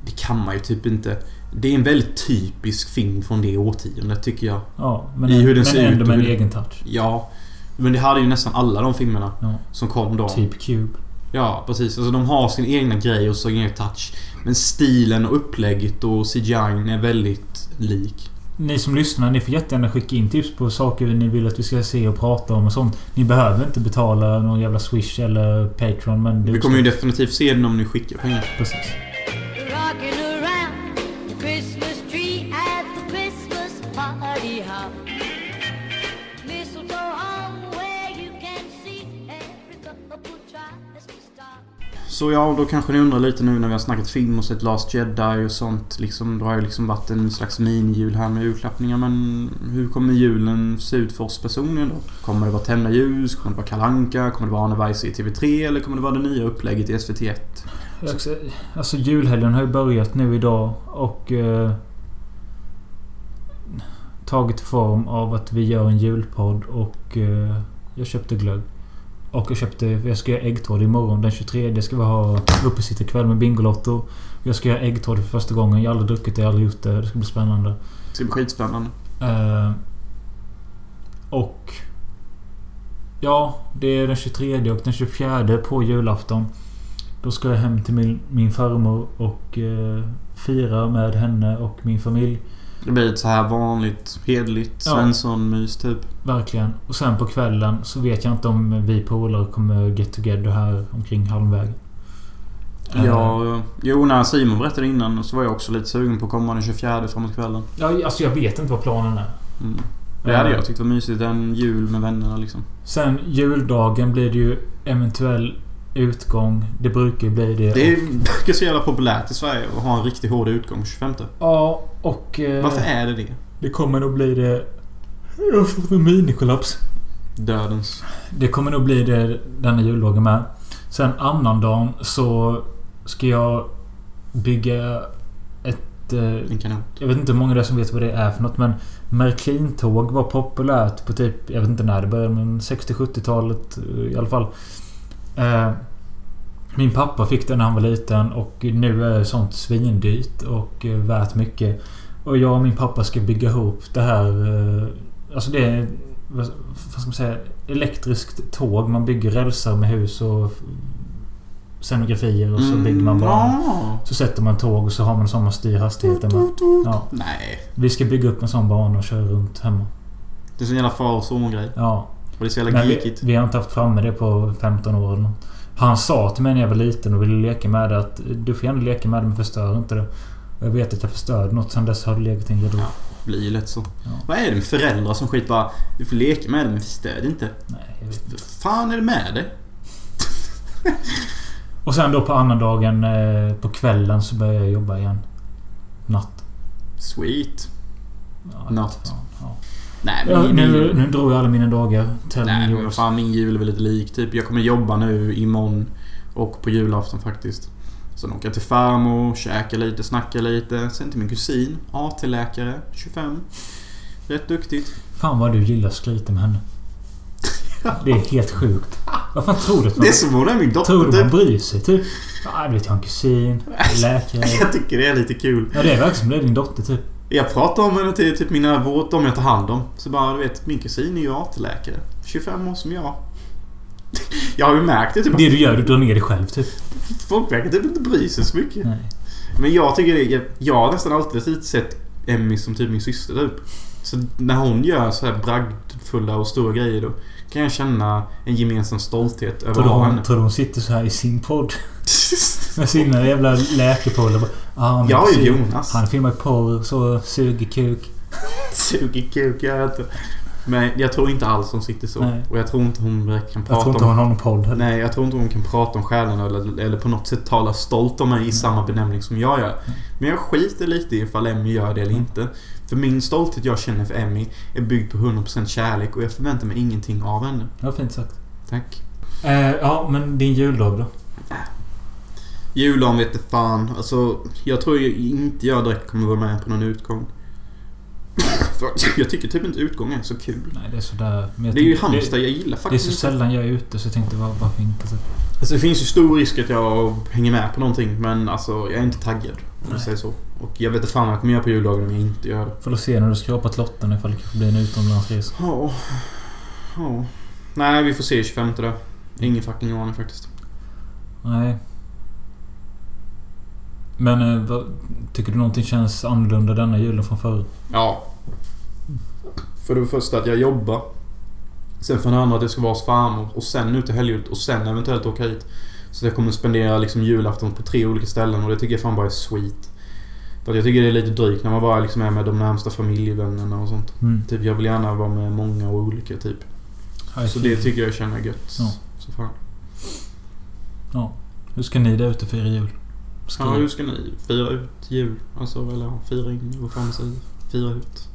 det kan man ju typ inte. Det är en väldigt typisk film från det årtiondet tycker jag. Ja, men I hur den men ser ut ändå och med en hur den- egen touch. Ja, men det hade ju nästan alla de filmerna Ja. som kom då. Typ Cube. Ja, precis. Alltså de har sin egna grej och sin egen touch. Men stilen och upplägget och CGI är väldigt lik. Ni som lyssnar, ni får jättegärna skicka in tips på saker ni vill att vi ska se och prata om och sånt. Ni behöver inte betala någon jävla Swish eller Patreon, men... det- Vi kommer ju definitivt se den om ni skickar pengar. Precis. Rocking around the Christmas tree at the Christmas party hop. Mistletoe hung where you can see every couple tries to stop. Så ja, då kanske ni undrar lite nu när vi har snackat film och sett Last Jedi och sånt. Liksom, då har ju liksom varit en slags minijul här med julklappningar. Men hur kommer julen se ut för oss personligen då? Kommer det vara tända ljus? Kommer det vara kalanka? Kommer det vara Arne Weise i TV3? Eller kommer det vara det nya upplägget i SVT1? Jag ska- Alltså julhelgen har ju börjat nu idag och... Eh, tagit form av att vi gör en julpodd och... Eh, jag köpte glögg. Och jag köpte... Jag ska göra äggtård imorgon den 23. ska vi ha uppesittarkväll med Bingolotto. Jag ska göra äggtård för första gången. Jag har aldrig druckit det, jag har aldrig gjort det. Det ska bli spännande. Det ska bli skitspännande. Eh, och... Ja, det är den 23 och den 24 på julafton. Då ska jag hem till min, min farmor och eh, fira med henne och min familj. Det blir ett så här vanligt, hederligt Ja. Svensson-mys typ. Verkligen. Och sen på kvällen så vet jag inte om vi polare kommer get together här omkring halvvägen. Eh, Ja, jo, när Simon berättade innan så var jag också lite sugen på att komma den 24 framåt kvällen. ja, alltså jag vet inte vad planen är. Mm. Det Eh, hade jag tyckt var mysigt. En jul med vännerna liksom. Sen juldagen blir det ju eventuell utgång. Det brukar ju bli det. Det är brukar så jävla populärt i Sverige att ha en riktigt hård utgång på 25. Ja, och... eh, Varför är det det? Det kommer nog bli det... Jag har fått en minikollaps. Dödens. Det kommer nog bli det denna juldagen med. Sen annandagen så ska jag bygga ett... eh, En kanon. Jag vet inte hur många det är som vet vad det är för något men Märklintåg var populärt på typ, jag vet inte när det började men 60-70-talet eh, i alla fall. Eh, Min pappa fick den när han var liten och nu är sånt svindyrt och eh, värt mycket. Och jag och min pappa ska bygga ihop det här... eh, Alltså det är... Vad vad ska man säga? Elektriskt tåg. Man bygger rälsar med hus och f- scenografier och så bygger man banor. Mm, Ja. Så sätter man tåg och så har man sån man styr hastigheten med. Ja. Nej. Vi ska bygga upp en sån bana och köra runt hemma. Det är så jävla far och son-grej. Ja. Och det är så jävla Men vi, geekigt. vi har inte haft framme det på 15 år eller något. Han sa till mig när jag var liten och ville leka med det att du får gärna leka med det men förstör inte det. Och jag vet att jag förstörde något sen dess har det legat i en garderob. Ja. Det blir ju lätt så. Ja. Vad är det med föräldrar som skit bara... Du får leka med det men stöd inte. Nej, jag vet inte. Vad fan är det med det? Och sen då på annandagen eh, på kvällen så börjar jag jobba igen. Natt. Sweet. Ja, jag vet Natt. fan. Ja. Nej Ja, men... min- nu, nu drog jag alla mina dagar. Tell Nej me men vad yours. fan min jul är väl lite lik typ. Jag kommer jobba nu imorgon och på julafton faktiskt. Sen åker jag till farmor, käkar lite, snackar lite. Sen till min kusin, AT-läkare, 25. Rätt duktigt. Fan vad du gillar att skryta med henne. Det är helt sjukt. Vad fan tror du att man Det är som om det är min Tror dotter du man typ. bryr sig? Typ. Ja, du vet, jag har en kusin. Läkare. Jag tycker det är lite kul. Ja, det är verkligen som det är din dotter typ. Jag pratar om henne till typ mina vård, de jag tar hand om. Så bara, du vet, min kusin är ju AT-läkare. 25 år som jag. Jag har ju märkt det typ. Det du gör, du drar ner dig själv typ. att Folk verkar typ inte bry sig så mycket. Nej. Men jag tycker det är, Jag har nästan alltid sett Emmy som typ min syster typ. Så när hon gör så här bragdfulla och stora grejer då kan jag känna en gemensam stolthet över Tror att du ha hon, henne. tror du hon sitter så här i sin podd? Med sina jävla läkarpolare. bara, Ah, min Jag har ju kusin, Jonas. Han filmar porr, så suger kuk. Suger kuk, jag vet inte. Men jag tror inte alls hon sitter så. Nej. Och jag tror inte hon direkt kan Jag prata tror inte om... hon har någon podd heller. Nej, jag tror inte hon kan prata om stjärnorna eller, eller på något sätt tala stolt om mig i Mm. samma benämning som jag gör. Men jag skiter lite i ifall Emmy gör det eller Mm. inte. För min stolthet jag känner för Emmy är byggd på 100% kärlek och jag förväntar mig ingenting av henne. Det var fint sagt. Tack. Eh, ja, men din juldag då? Juldagen vete fan. Alltså, jag tror ju inte jag direkt kommer vara med på någon utgång. För- Jag tycker typ inte utgången är så kul. Nej, det är sådär. Men jag Det är ju tycker- Halmstad, jag gillar Det är faktiskt så inte. sällan jag är ute så jag tänkte var- varför inte? Så. Alltså, det finns ju stor risk att jag hänger med på någonting men alltså jag är inte taggad. Om Nej. jag säger så. Och jag vet inte fan vad jag kommer göra på juldagen om jag inte gör det. Får då se när du skrapat lotten ifall det kanske blir en utomlandsresa. Ja. Ja. Nej, vi får se 25 där. Ingen fucking aning faktiskt. Nej. Men eh, vad, tycker du någonting känns annorlunda denna julen från förut? Ja. För det första att jag jobbar. Sen för det andra att jag ska vara hos farmor och sen ut till helgjult och sen eventuellt åka hit. Så att jag kommer spendera liksom julafton på tre olika ställen och det tycker jag fan bara är sweet. För att jag tycker det är lite drygt när man bara liksom är med de närmsta familjevännerna och sånt. Mm. Typ jag vill gärna vara med många och olika typ. Så det tycker jag känner gött. Ja. Så fan. Hur ska ni där ute fira jul? Ja, hur ska ni fira ut jul? Alltså, eller ja, fira in, vad fan säger Fira ut.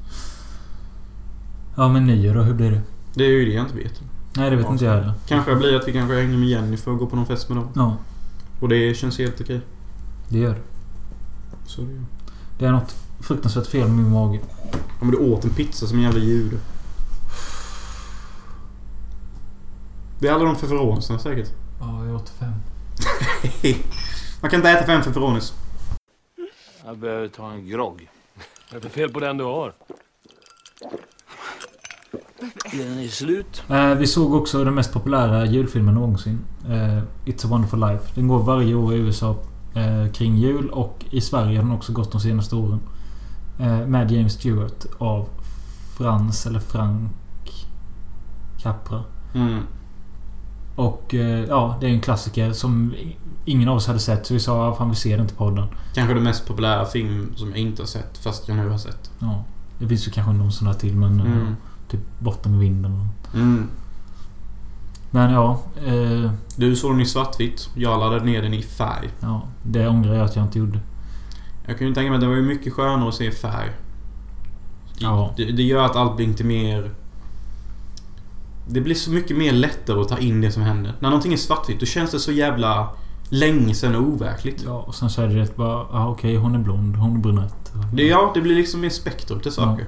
ja men nyår då? Hur blir det? Det är ju det jag inte vet. Nej, det vet Ja, inte jag heller. Kanske blir att vi kanske hänger med Jenny för att gå på någon fest med dem. Ja, Och det känns helt okej. det gör det. Så det är Det är något fruktansvärt fel med min mage. Ja, men du åt en pizza som en jävla djur. Det är alla de feferonisarna säkert. Ja, jag åt fem. Man kan inte äta fem feferonis. Jag behöver ta en grogg. Vad är det för fel på den du har? Den är slut. Eh, vi såg också den mest populära julfilmen någonsin. Eh, It's a wonderful life. Den går varje år i USA eh, kring jul och i Sverige har den också gått de senaste åren. Eh, med James Stewart av Frans eller Frank Capra. Mm. Och eh, ja, det är en klassiker som ingen av oss hade sett så vi sa "Ja, fan vi ser den till podden. Kanske den mest populära film som jag inte har sett fast jag nu har sett. Ja, det finns ju kanske någon sån där till men eh, Mm. typ Borta med vinden. och- Mm. Men ja, eh, Du såg den i svartvitt. Jag laddade ner den i färg. ja, det ångrar jag att jag inte gjorde. Jag kan ju tänka mig att det var ju mycket skönare att se i färg. I- Ja. Det, det gör att allt blir inte mer... Det blir så mycket mer lättare att ta in det som händer. När någonting är svartvitt, då känns det så jävla länge sedan och overkligt. Ja, och sen så är det rätt bara, ja okej hon är blond, hon är brunett. Det, ja, det blir liksom mer spektrum till saker.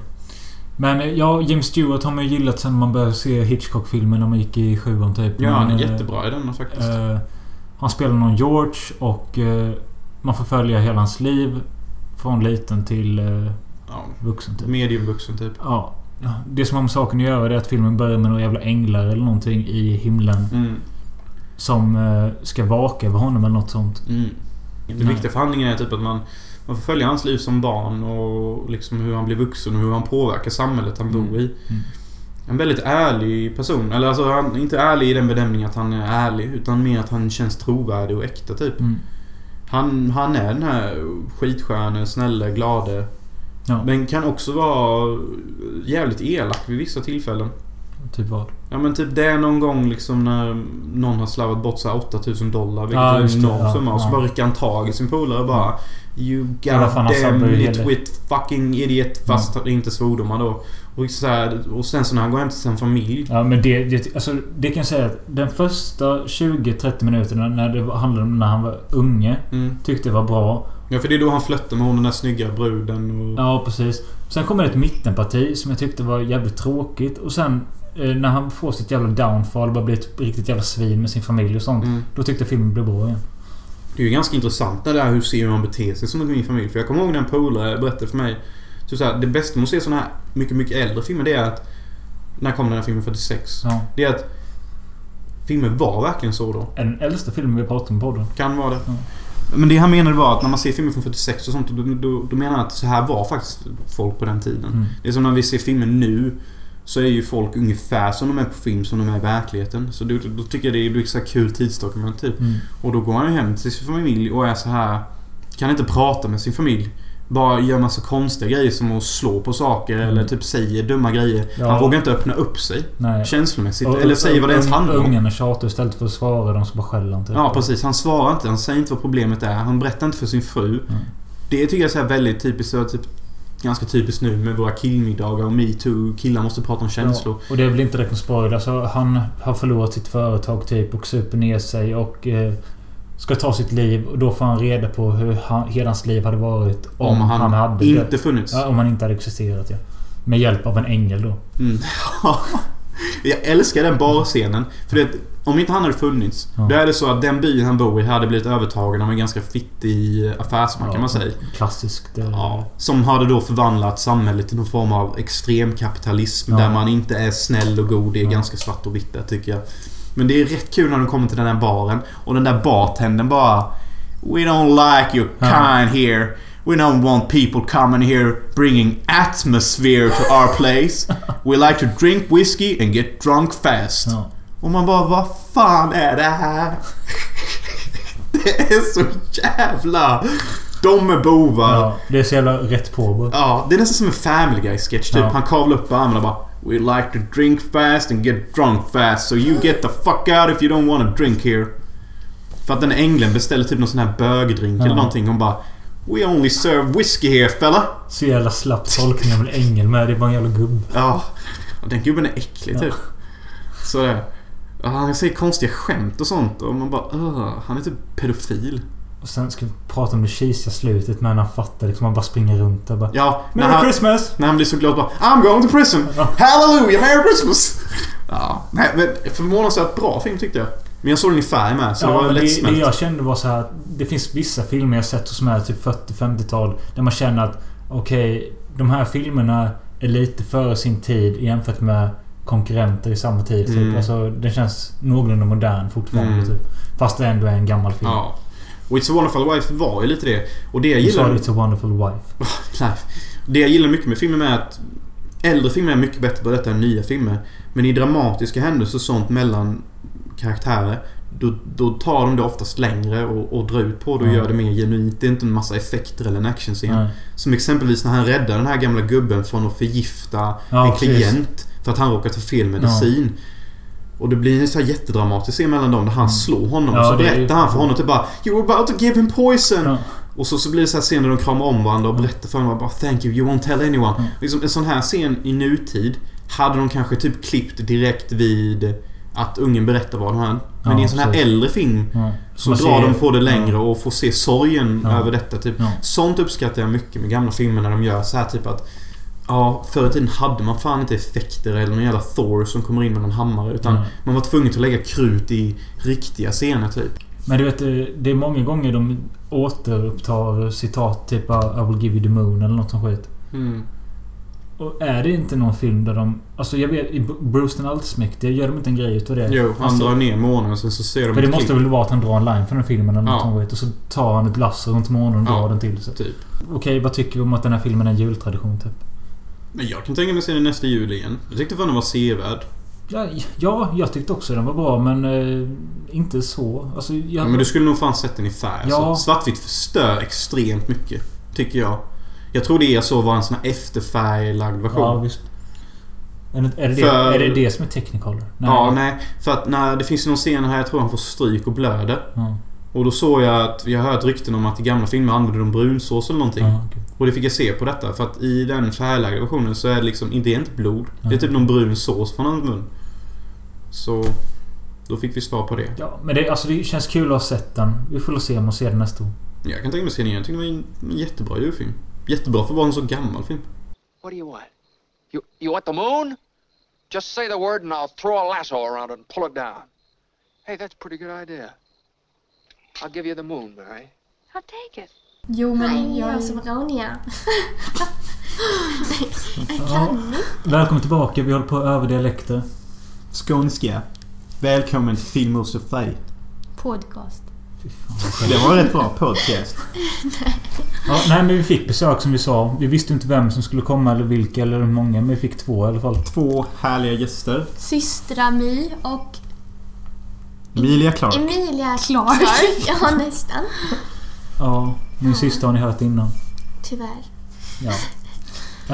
Men eh, ja, James Stewart har man ju gillat sen man började se Hitchcock-filmer när man gick i sjuan typ. Ja, han är Men, eh, jättebra i denna faktiskt. eh, han spelar någon George och eh, man får följa hela hans liv. Från liten till eh, ja, vuxen typ. mediumvuxen typ. Ja. Det som har med saken att göra är att filmen börjar med några jävla änglar eller någonting i himlen. Mm. Som eh, ska vaka över honom eller något sånt. Mm. Det Nej. viktiga för handlingen är typ att man, man får följa hans liv som barn och liksom hur han blir vuxen och hur han påverkar samhället han bor i. Mm. En väldigt ärlig person. Eller alltså, han är inte ärlig i den bedömningen att han är ärlig. Utan mer att han känns trovärdig och äkta typ. Mm. Han, han är den här skitsköne, snälle, glade. Ja, Men kan också vara jävligt elak vid vissa tillfällen. typ vad. Ja men typ det är någon gång liksom när någon har slarvat bort så här 8000 dollar vilket Ja, är just en det, enorm ja, summa. Och så ja. bara rycker han tag i sin polare och bara You Ja, vad fan, han sabbar goddamn ju it hela- Mm. with fucking idiot. Fast inte svordomar då. Och, så här, och sen så när han går hem till sin familj. Ja men det, det, alltså, det kan jag säga att den första 20-30 minuterna när det handlade om när han var unge Mm. tyckte det var bra. Ja för det är då han flörtar med hon den där snygga bruden och... Ja precis. Sen kommer det ett mittenparti som jag tyckte var jävligt tråkigt och sen eh, när han får sitt jävla downfall och bara blir ett riktigt jävla svin med sin familj och sånt. Mm. Då tyckte jag filmen blev bra igen. Det är ju ganska intressant det där hur ser man beter sig som min familj. För jag kommer ihåg när en polare berättade för mig. Så så här, det bästa med att se sådana här mycket, mycket äldre filmer det är att... När kom den här filmen? 46? Ja. Det är att... Filmen var verkligen så då. Är den äldsta filmen vi pratat om på podden. Kan vara det. Ja. Men det han menade var att när man ser filmer från 46 och sånt. Då, då, då menar han att så här var faktiskt folk på den tiden. Mm. Det är som när vi ser filmer nu. Så är ju folk ungefär som de är på film som de är i verkligheten. Så då, då tycker jag det blir så här kul tidsdokument typ. Mm. Och då går han ju hem till sin familj och är så här Kan inte prata med sin familj. Bara gör massa konstiga grejer som att slå på saker Mm. eller typ säger dumma grejer. Ja. Han vågar inte öppna upp sig Nej. känslomässigt. Och- eller säger vad det ens och- handlar om. Ungarna tjatar istället för att svara de så bara skäller han typ. Ja, precis. Han svarar inte. Han säger inte vad problemet är. Han berättar inte för sin fru. Mm. Det tycker jag är så här väldigt typiskt. Så typ, ganska typiskt nu med våra killmiddagar och metoo. Killar måste prata om känslor. Ja, och det är väl inte direkt någon spoiler. Alltså, han har förlorat sitt företag typ och super ner sig och eh, ska ta sitt liv. Och då får han reda på hur han, hela hans liv hade varit om, han, hade det. inte funnits. Ja, om han inte hade existerat ja. Med hjälp av en ängel då. Mm. Jag älskar den barscenen. För det, om inte han hade funnits, Ja. då är det så att den byn han bor i hade blivit övertagen av en ganska fittig affärsman kan man säga. Klassiskt. eh, Ja, som hade då förvandlat samhället till någon form av extremkapitalism Ja. där man inte är snäll och god. Det är Ja. ganska svart och vitt där tycker jag. Men det är rätt kul när de kommer till den här baren och den där bartendern bara We don't like your Ja. kind here. We don't want people coming here bringing atmosphere to our place. We like to drink whiskey and get drunk fast. Ja. Och man bara, vad fan är det här? det är så jävla... De är bovar. Ja, det är så jävla rätt på. bara. Ja, det är nästan som en Family Guy-sketch typ. Ja. Han kavlar upp armen och bara We like to drink fast and get drunk fast so you get the fuck out if you don't wanna drink here. För att den ängeln beställer typ någon sån här bögdrink eller Ja. någonting. Hon bara We only serve whiskey here fella. Så jävla slapp tolkning av en ängel med. Det är bara en jävla gubbe. Ja. Och den gubben är äcklig typ. Så det. Ja, Han säger konstiga skämt och sånt och man bara "Ugh, Han är typ pedofil. Och sen ska vi prata om det kisiga slutet när han fattar liksom. Han bara springer runt där bara. Ja, när Merry han, Christmas! När han blir så glad bara I'm going to prison! Ja. Hallelujah, Merry Christmas! Ja, nej men förvånansvärt bra film tyckte jag. Men jag såg den i färg med så det Ja, var det, det lättsmält. jag kände var så här att Det finns vissa filmer jag sett som är typ 40-50-tal. Där man känner att okej, de här filmerna är lite före sin tid jämfört med konkurrenter i samma tid. Mm. Typ. Alltså, den känns någorlunda modern fortfarande. Mm. Typ. Fast det ändå är en gammal film. Ja. Och It's a wonderful life var ju lite det. Och det jag Du sa gillar... It's a wonderful wife. Life. Det jag gillar mycket med filmen är att äldre filmer är mycket bättre på detta än nya filmer. Men i dramatiska händelser och sånt mellan karaktärer då, då tar de det oftast längre och, och drar ut på det och Ja. gör det mer genuint. Det är inte en massa effekter eller en actionscen. Nej. Som exempelvis när han räddar den här gamla gubben från att förgifta Ja, en precis. klient för att han råkar ta fel medicin. Och det blir en så här jättedramatisk scen mellan dem där han slår honom. Mm. Ja, så det är- berättar han för honom typ bara “You were about to give him poison”. Ja. Och så, så blir det så här scen där de kramar om varandra och berättar för honom bara “Thank you, you won't tell anyone”. Mm. Liksom, en sån här scen i nutid hade de kanske typ klippt direkt vid att ungen berättar vad han Men Ja, i en sån här precis. äldre film Ja. så Man drar ser- de på det längre och får se sorgen Ja. över detta. Typ. Ja. Sånt uppskattar jag mycket med gamla filmer när de gör så här typ att Ja, förr i tiden hade man fan inte effekter eller någon jävla Thor som kommer in med någon hammare. Utan Nej. man var tvungen att lägga krut i riktiga scener typ. Men du vet, eh, det är många gånger de återupptar citat typ I will give you the moon eller något sånt skit. Och är det inte någon film där de... Alltså jag vet, i Bru- Bruce den allsmäktige gör de inte en grej utav det? Jo, han alltså, drar ner månen och sen så ser de För det ett måste klipp, väl vara att han drar en line från den filmen eller något Ja. sånt skit. Och så tar han ett lasso runt månen och Ja. drar den till sig. typ. Okej, vad tycker vi om att den här filmen är en jultradition typ? Men jag kan tänka mig att se den nästa jul igen. Jag tyckte fan den var sevärd. Ja, ja, jag tyckte också den var bra men... Eh, inte så. Alltså jag... Men du skulle nog fan sett den i färg. Ja. Alltså. Svartvitt förstör extremt mycket. Tycker jag. Jag tror det jag såg var en sån här efterfärglagd version. Ja, visst. Är det, är, det För- det, är det det som är Technicolor? Ja, nej. För att när, det finns ju någon scen här jag tror han får stryk och blöder. Ja. Och då såg jag att, jag har hört rykten om att i gamla filmer använde de brunsås eller någonting. Ja, okej. Och det fick jag se på detta. För att i den färglagda versionen så är det liksom, inte- det är inte blod. Det är Nej. typ någon brun sås från hans mun. Så, då fick vi svar på det. ja, men det, alltså, det känns kul att ha sett den. Vi får väl se om man ser den nästa år. Jag kan tänka mig att se den igen. Jag tycker det var en, en jättebra julfilm. Jättebra för att vara en så gammal film. What do you want? You you want the moon? Just say the word and I'll throw a lasso around it and pull it down. Hey, that's a pretty good idea. I'll give you the moon, all right? I'll take it. Jo, men Nej, jag... jag är alltså så broniga. jag Ja. kan inte. Välkommen tillbaka. Vi håller på att öva dialekter. Skånska. Välkommen till Film och Färg. Podcast. Det var en rätt bra podcast. Ja, nej, men vi fick besök som vi sa. Vi visste inte vem som skulle komma eller vilka eller hur många. Men vi fick två i alla fall. Två härliga gäster. Systra My och Emilia Clark. Emilia Clark. ja, nästan. Ja, min syster har ni hört innan. Tyvärr. Ja.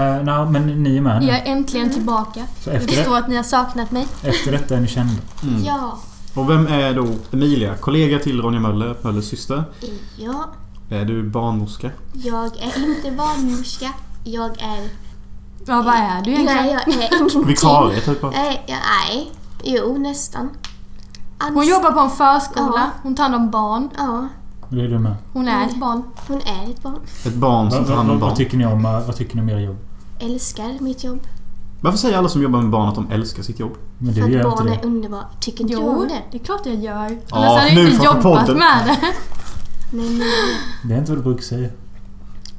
Eh, nej, men ni är med nu. Jag är äntligen tillbaka. Så Det efter, förstår det, Mm. att ni har saknat mig. efter detta är ni kända. Ja. Och vem är då Emilia? Kollega till Ronja Möller, Möllers syster. Ja. Eh, Är du barnmorska? Jag är inte barnmorska. Jag är... Ja, vad är du egentligen? Nej, jag är ingenting. Vikarie typ av... Nej, jag är... Jo, nästan. Hon Anst- jobbar på en förskola. Ja. Mm. Hon tar hand om barn. Ja, Det är du med. Hon är ett barn. hon är ett barn. Ett barn som Vad, tar vad, hand om vad, barn. tycker ni om, eh, vad tycker ni om era jobb? älskar mitt jobb. Varför säger alla som jobbar med barn att de älskar sitt jobb? Men För du att gör inte barn är det. underbara. Tycker inte du Jo, om det? det är klart jag gör. Ja, Annars hade nu jag inte fattar jobbat podden. med det. Nej, nej. Det är inte vad du brukar säga. eh,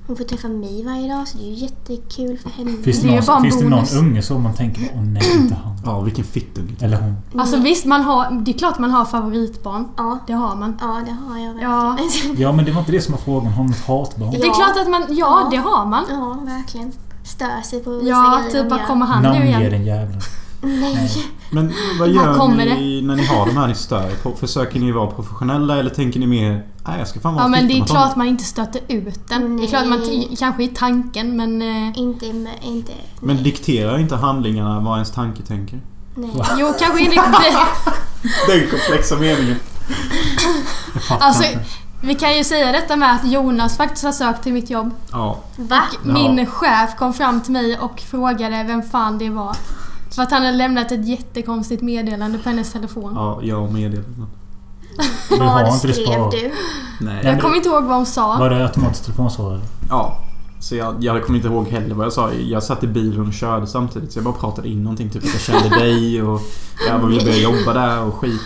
Hon får träffa mig varje dag så det är ju jättekul för henne. Finns Det är det, ju bara någon, en finns det någon bonus. unge som man tänker åh nej, inte han. Ja, vilken fittunge. Eller hon. Mm. Alltså visst, man har, det är klart man har favoritbarn. Ja. Det har man. Ja, det har jag Ja. verkligen. Ja men det var inte det som var frågan. Har hon ett hatbarn? Det är Ja. klart att man, ja det har man. Ja, verkligen. Stör sig på vissa Ja, grejer typ de bara gör. kommer han nu Namnge igen? den jäveln. Nej. Men vad Här gör kommer ni när ni har de här ni stör er på? Försöker ni vara professionella eller tänker ni mer Nej, jag ska fan vara Ja men det är fittan klart man inte stöter ut den. Det är klart man Nej. t- kanske i tanken men... Eh, Inte med, inte. Men dikterar inte handlingarna vad ens tanke tänker? Nej. Va? jo kanske inte riktigt. Den komplexa meningen. Jag fattar Alltså, inte. vi kan ju säga detta med att Jonas faktiskt har sökt till mitt jobb. Ja. Va? Ja. Min chef kom fram till mig och frågade vem fan det var. För att han hade lämnat ett jättekonstigt meddelande på hennes telefon. Ja, jag och meddelanden. Du har Vad inte det skrev sparat. du? Nej. Ja, men Jag kommer inte ihåg vad hon sa. Var det automatiskt telefonsvarare? Ja. Så jag, jag kommer inte ihåg heller vad jag sa. Jag satt i bilen och körde samtidigt så jag bara pratade in någonting. Typ jag kände dig och jag ville börja jobba där och skit.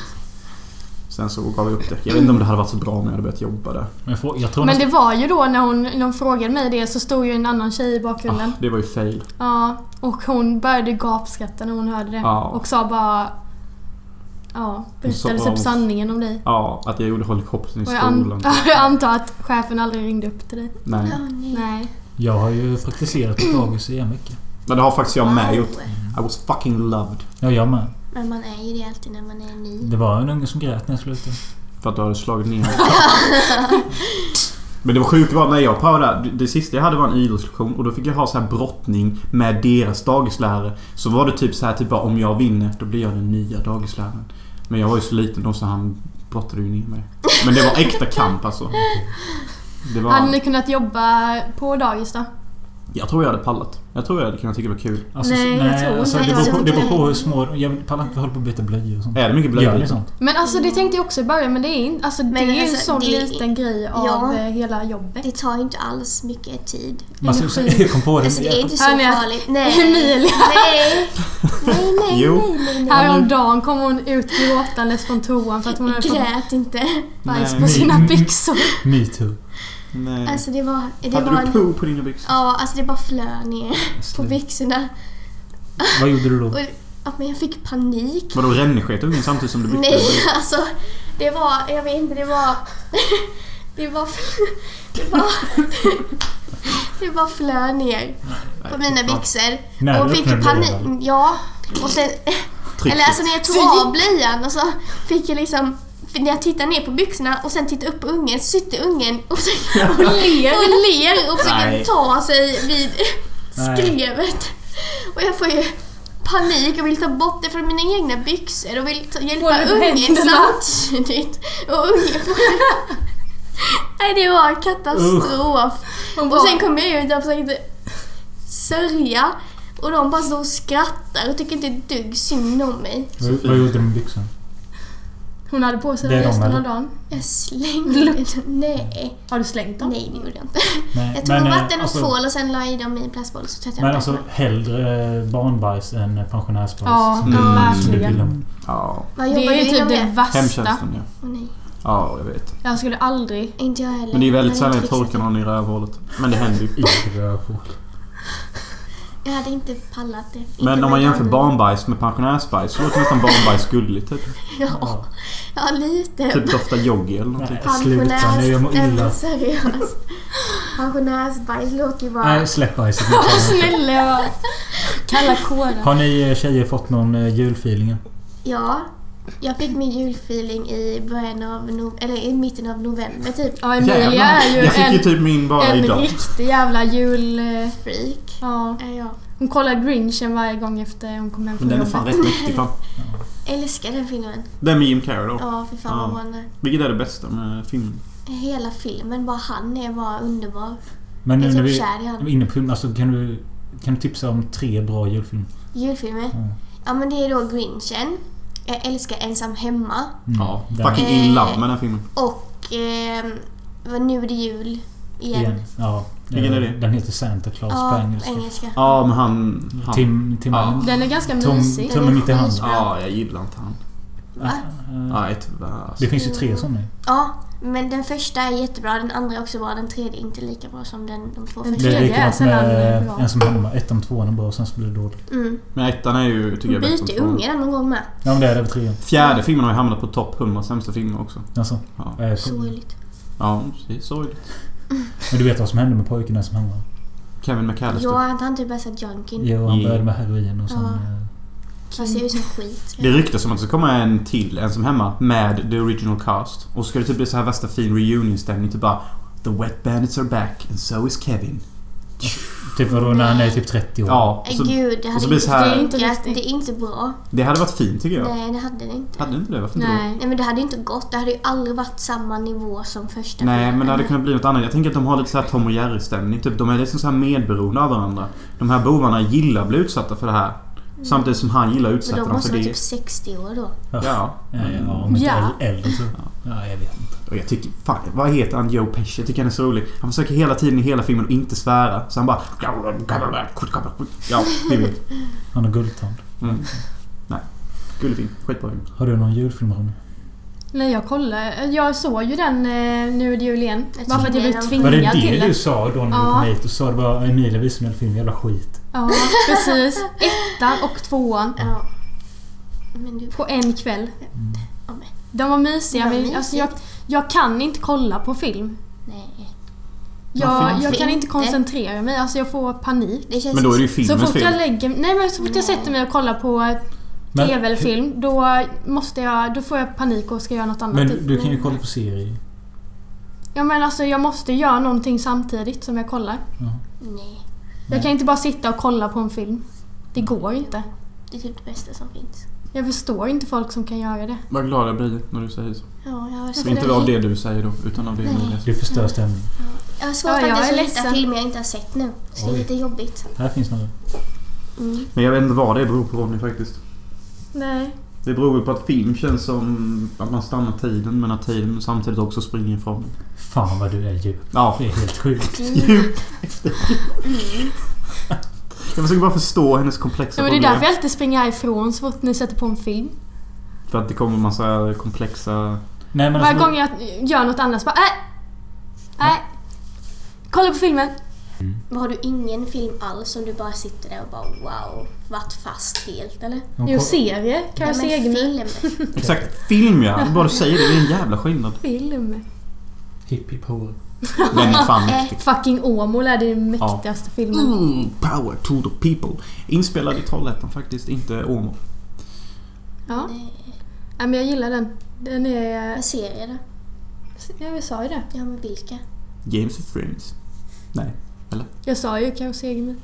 Sen så gav jag upp det. Jag vet inte om det hade varit så bra om jag hade börjat jobba där. Men jag, får, jag tror Men det nästan- var ju då när hon, när hon frågade mig det så stod ju en annan tjej i Ah, bakgrunden. det var ju fail. Ja, och hon började gapskratta när hon hörde det. Ja. Och sa bara... Ja, berättade sa- typ sanningen om dig. Ja, att jag gjorde helikoptern i Och jag, an- skolan. jag antar att chefen aldrig ringde upp till dig. Nej. Åh nej. Nej. jag har ju praktiserat på dagis i en vecka. Men det har faktiskt jag med gjort. Wow. I was fucking loved. Ja, jag med. Men man är ju det alltid när man är ny. Det var en unge som grät när jag slutade. För att du hade slagit ner mig. Men det var sjukt vad när jag prövade det här, det- Det sista jag hade var en idrottslektion och då fick jag ha så här brottning med deras dagislärare. Så var det typ så här typ bara om jag vinner då blir jag den nya dagisläraren. Men jag var ju så liten då så han brottade ju ner mig. Men det var äkta kamp alltså. Det Hade var, ni kunnat jobba på dagis då? jag tror jag hade pallat. Jag tror jag hade kunnat tycka det var kul. Alltså, Nej, jag tror alltså, inte det. det. Beror på, det beror på hur Jag små... Jag pallar inte hålla på och byta blöjor och sånt. Är det mycket Gör ni blöjor? liksom? sånt? Men alltså det tänkte jag också i början men det är, in, alltså, det Mm. är Men ju en alltså, sån det- liten grej av Ja. eh, hela jobbet. Det tar ju inte alls mycket tid. Man ska, jag kom på det. Alltså det är inte så Hör ni att- farligt. Nej. Emilia. Nej. Nej, nej, Jo. nej, nej, nej. Mm. Häromdagen kom hon ut gråtandes från toan för att hon hade fått Grät Mm. inte. bajs på Nej. sina byxor. Metoo. Nej. Alltså det var... Det Hade var du poo på dina byxor? Ja, alltså det bara flög ner på byxorna. Vad gjorde du då? Och, ja, men jag fick panik. Vadå rännsket ungen samtidigt som du bytte? Nej, alltså. Det var... Jag vet inte, det var... Det var... Det var... Det bara flög ner på mina byxor. När Och du fick öppnade panik. blöjan? Ja. Och sen... Trycket. Eller alltså när jag tog av blöjan och så fick jag liksom... för När jag tittar ner på byxorna och sen tittar upp på ungen så sitter ungen och, försöker- och ler och ler och försöker Nej. ta sig vid Nej. skrevet. Och jag får ju panik och vill ta bort det från mina egna byxor och vill ta, hjälpa Håller på ungen händerna. samtidigt. Och ungen får... Nej, det var katastrof. Hon bara, Och sen kom jag ut och försökte sörja och de bara står och skrattar och tycker inte ett dugg synd om mig. Vad vad gjorde du med byxorna? hon hade på sig Det är dem de, resten av eller? dagen. Jag slängde dem. Nej, Har du slängt dem? nej det gjorde jag inte. Nej, Jag tog men, eh, vatten och alltså- tvål och sen la jag i dem i en plastboll så tvättade jag Men dem. alltså hellre barnbajs än eh, pensionärsbajs. Mm, Ja, som du- ja, som du verkligen. pillar med. Ja. Vad Det jobbar är du ju inom typ det det? värsta. Hemtjänsten ja. Åh nej, Ja, jag vet. Jag skulle aldrig... inte jag heller. Men det är väldigt Jag sällan hade jag inte fixat torkar någon i rövhålet. Men det händer ju. I rövhål. det. Jag hade inte pallat det. Inte Men om man med jämför barnen. barnbajs med pensionärsbajs så låter nästan barnbajs gulligt. Typ, Ja, ja lite. typ doftar joggi eller någonting. Nej, sluta nu. Jag mår Nej, men illa. seriöst. Pensionärsbajs låter ju bara... Nej, släpp bajset. Snälla Kalla kårar. Har ni eh, tjejer fått någon eh, julfeeling? än? Ja, jag fick min julfeeling i början av no- eller i mitten av november typ. Ja, Emilia är ju Jag fick ju en, typ min bara en idag. riktig jävla jul... eh, Freak Ja. är jag. Hon kollar Grinchen varje gång efter hon kom hem Men från den är fan jobbet. rätt mäktig fan. Älskar den filmen. Den med Jim Carrey då. Ja, för fan Ja. vad han är. Vilket är det bästa med filmen? Hela filmen, bara han är bara underbar. Men Jag nu är när typ vi kär i är honom. inne på film, alltså kan du, kan du tipsa om tre bra julfilmer? Julfilmer. Ja men det är då Grinchen. Jag älskar Ensam Hemma. Mm. Ja, Den- fucking in love med den filmen. Och ehm, vad nu är det jul. igen. Ja. Vilken är det? Den heter Santa Claus Ja, på engelska. engelska. Ja, men han... han Tim... Tim Ja. Allen. Den är ganska Tom- mysig. Tom- Tummen mitt i handen. skitbra. Ja, jag gillar inte han. Va? Eh, Nej, tyvärr. Det finns ju tre såna. Ja, men den första är jättebra, den andra är också bra, den tredje är inte lika bra som den, de två Den Det är första. tredje är likadant sällan med bra. en som hemma. Ettan och tvåan är bra, sen så blir det dåligt. Mm. Men ettan är ju, tycker jag, bättre än Byter tvåan. unge den någon gång med. Ja, men det är det över trean. Fjärde filmen har ju hamnat på topp 100 sämsta filmer också. Alltså, Ja, eh, Sorgligt. ja precis. Sorgligt. men du vet vad som hände med pojken där som hemma? Mm. Kevin McAllister. Ja, han han typ är såhär junkin. Jo, han Ja. började med heroin och sen... Ja. eh, Han ser ut som skit. Det ryktas om att det ska komma en till Ensam Hemma med the original cast. Och så ska det typ bli så här värsta fin reunion-stämning. Typ bara The Wet Bandits are back and so is Kevin. Typ vadå, när han är typ 30 år? Ja, och Äh, så, Gud, det och så hade blir det så här- det är inte Det är inte riktigt. Det är inte bra. det hade varit fint tycker jag. Nej, det hade det inte. Hade inte det? Varför inte Nej. Nej, men det hade inte gått. Det hade ju aldrig varit samma nivå som första då? Nej, filmen. men det hade kunnat bli något annat. Jag tänker att de har lite så här Tom och Jerry-stämning. Typ, de är liksom så här medberoende av varandra. De här bovarna gillar att bli utsatta för det här. Samtidigt som han gillar att Mm. Men utsätta de dem måste för vara det. typ 60 år då. Ja. Ja, ja, om inte Ja. äl- äldre så. Ja, jag vet inte. Och jag tycker, fan, vad heter han Joe Pesci? Jag tycker han är så rolig. Han försöker hela tiden i hela filmen att inte svära. Så han bara... Ja, det vet. Han har guldtand. Mm. Nej. Gullig film. Skitbra film. Har du någon julfilm Ronny? Nej, jag kollar. Jag såg ju den eh, nu är jul igen. Jag Bara för att jag tycker blev den- Var tvingad det det till du den. sa då när du Ja. kom hit? Du sa det bara Emilia visade mig en film, jävla skit. Ja, precis. Ettan och tvåan Ja. Men du... på en kväll. Ja, men- De var mysiga, Det var men mysigt. alltså, jag, jag kan inte kolla på film. Nej. Jag, Varför jag kan inte? inte koncentrera mig. Alltså jag får panik. Det känns Men då är det ju Så filmens fort fel. jag lägger Nej men så fort jag sätter mig och kollar på Men- TV eller film då måste jag... Då får jag panik och ska göra något annat. Men typ. du kan ju kolla på serier. Ja men alltså jag måste göra någonting samtidigt som jag kollar. Nej. Jag kan inte bara sitta och kolla på en film. Det går inte. Det är typ det bästa som finns. Jag förstår inte folk som kan göra det. Vad glad jag blir när du säger så. Ja, jag har Så svårt, inte av det du säger då, utan av det Nej. Emilia. Du Mm. förstör stämningen. jag har svårt Ja, att jag ens är hitta ledsen. filmer jag inte har sett nu. Så det är Oj. lite jobbigt. Här finns några. Mm. Men jag vet inte vad det beror på Ronny faktiskt. Nej. Det beror väl på att film känns som att man stannar tiden men att tiden samtidigt också springer ifrån en. Fan vad du är djup. Ja. Det är helt sjukt. Djup efter Jag försöker bara förstå hennes komplexa Ja, men det är problem. därför jag alltid springer härifrån så fort ni sätter på en film. För att det kommer en massa komplexa... Nej men Varje alltså, gång jag gör något annat så bara äh, Nej. Kolla på filmen. Men har du ingen film alls som du bara sitter där och bara wow, varit fast helt eller? de Jo, ko- serie. Kan jag Nej, se men egen film? film. Exakt! Film ja! Bara du säger det, det är en jävla skillnad. Hipp hipp hår. Den är fan mäktig. Fucking Åmål är den mäktigaste filmen. Mm, power to the people. Inspelad i Trollhättan faktiskt, inte Åmål. Ja. ja. men jag gillar den. Den är... Vad serier då? Ja, jag sa ju det. Ja, men vilka? James of Friends. Nej. Jag sa ju Kaos egen bil.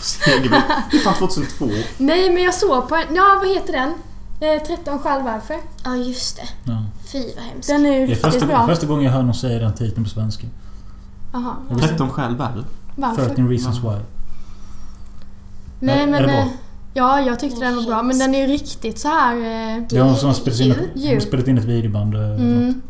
Segerby. Det är fan 2002. Nej, men jag såg på en... Ja, vad heter den? Eh, 13 skäl varför. Ja, just det. Ja. Fy vad hemskt. Den är ju Det är riktigt första, bra. första gången jag hör någon säga den titeln på svenska. Jaha, 13 skäl värre. varför? 13 reasons why. Nej, Är- men... är det bra? eh, Ja, jag tyckte den var bra. Men den är ju riktigt så här... eh, Det är hon som har spelat in, ett- hon Djur. har spelat in ett videoband. eh, Mm.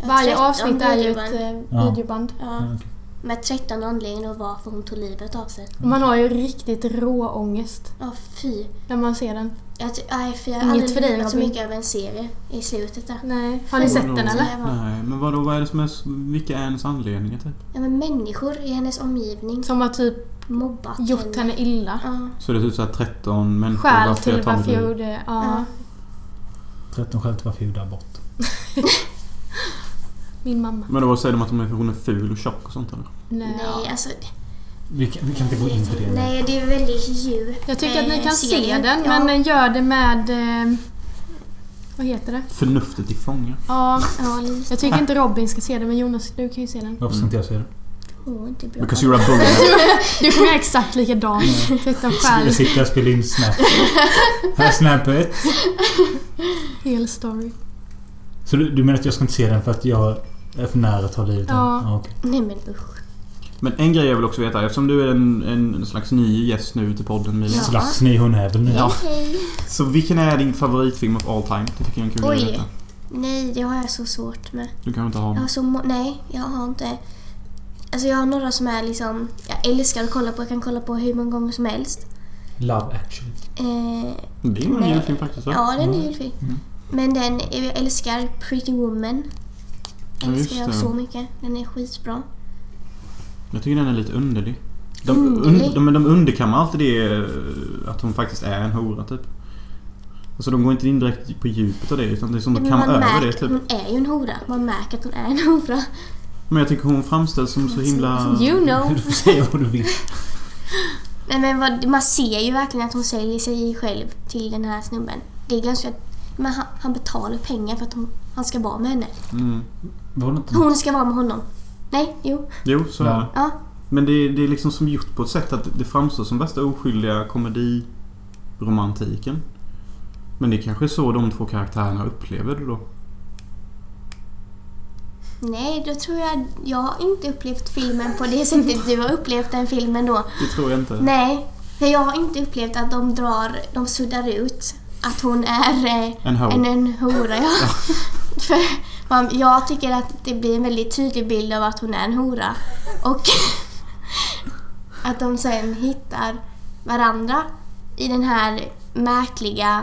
Jag har Varje 13 avsnitt är ju videoband. ett eh, Ja. videoband. Ja, Mm, Ja, okej. med 13 anledningar och varför hon tog livet av sig. Och man har ju riktigt rå ångest Ja, fy. när man ser den. Jag, ty- nej, fy, jag har Inget aldrig för dig, livat så Robin. mycket över en serie i slutet där. Nej. Har ni sett den eller? Jävlar. Nej, men vadå, vad är det som är... s- Vilka är hennes anledningar typ? Ja, men människor i hennes omgivning Som har typ mobbat gjort henne illa. Ja, Så det är typ såhär 13 Mm. människor Skäl varför till jag tar mitt varför jag liv. gjorde... Ja. 13 skäl till varför jag gjorde abort. Min mamma. Men då säger de att de är, hon är ful och tjock och sånt eller? Nej. nej, alltså, Vi kan, vi kan inte gå in på det nu. nej, det är väldigt djupt. Eh, Jag tycker att ni kan se den, ja. men gör det med... Eh, vad heter det? Förnuftet i fånga. Ja, Ja, lite. jag tycker inte Robin ska se den, men Jonas, du kan ju se den. Varför ska inte jag säga det? Oh, inte bra. Because you're a boomer. Du kommer göra exakt likadant. Titta själv. Jag sitter och spelar in Snap. Här är Snap 1. Hel story. Så du, du menar att jag ska inte se den för att jag är för nära att ta livet av Ja. den? okej. Nej men usch. Men en grej jag vill också veta, eftersom du är en, en, en slags ny gäst nu till podden Mila. Ja. Slags ni hon är väl nu? Ja. Hej. Så vilken är din favoritfilm of all time? Det tycker jag är en kul grej att Oj. veta. Nej, det har jag så svårt med. Du kan inte ha Jag har någon. så må- Nej, jag har inte. Alltså jag har några som är liksom... Jag älskar att kolla på. Jag kan kolla på hur många gånger som helst. Love actually. Eh, Det är ju en Nej. julfilm faktiskt va? ja, den Mm. är julfilm. Men den, eh, jag älskar Pretty Woman. Ja, just Älskar jag det. så mycket. Den är skitbra. Jag tycker den är lite underlig. De, Underlig? un, de, men de underkammar alltid det eh, att hon faktiskt är en hora typ. Alltså de går inte in direkt på djupet av det utan det är som de Men kammar man över märker, det typ. Hon är ju en hora. Man märker att hon är en hora. Men jag tycker hon framställs som så himla... You know. Du får säga vad du vill. Nej, men vad, man ser ju verkligen att hon säljer sig själv till den här snubben. Det är ganska... Men han, han betalar pengar för att hon, han ska vara med henne. Mm. Var det inte... Hon ska vara med honom. Nej, jo. Jo, så Ja. är det. Ja. Men det, det är liksom som gjort på ett sätt att det framstår som bästa oskyldiga komediromantiken. Men det är kanske så de två karaktärerna upplever det då. Nej, då tror jag... Jag har inte upplevt filmen på det sättet du har upplevt den filmen då. Det tror jag inte. Nej, för jag har inte upplevt att de drar... De suddar ut att hon är eh, En hora. en, en hora. Ja. för man, jag tycker att det blir en väldigt tydlig bild av att hon är en hora. Och att de sen hittar varandra i den här märkliga...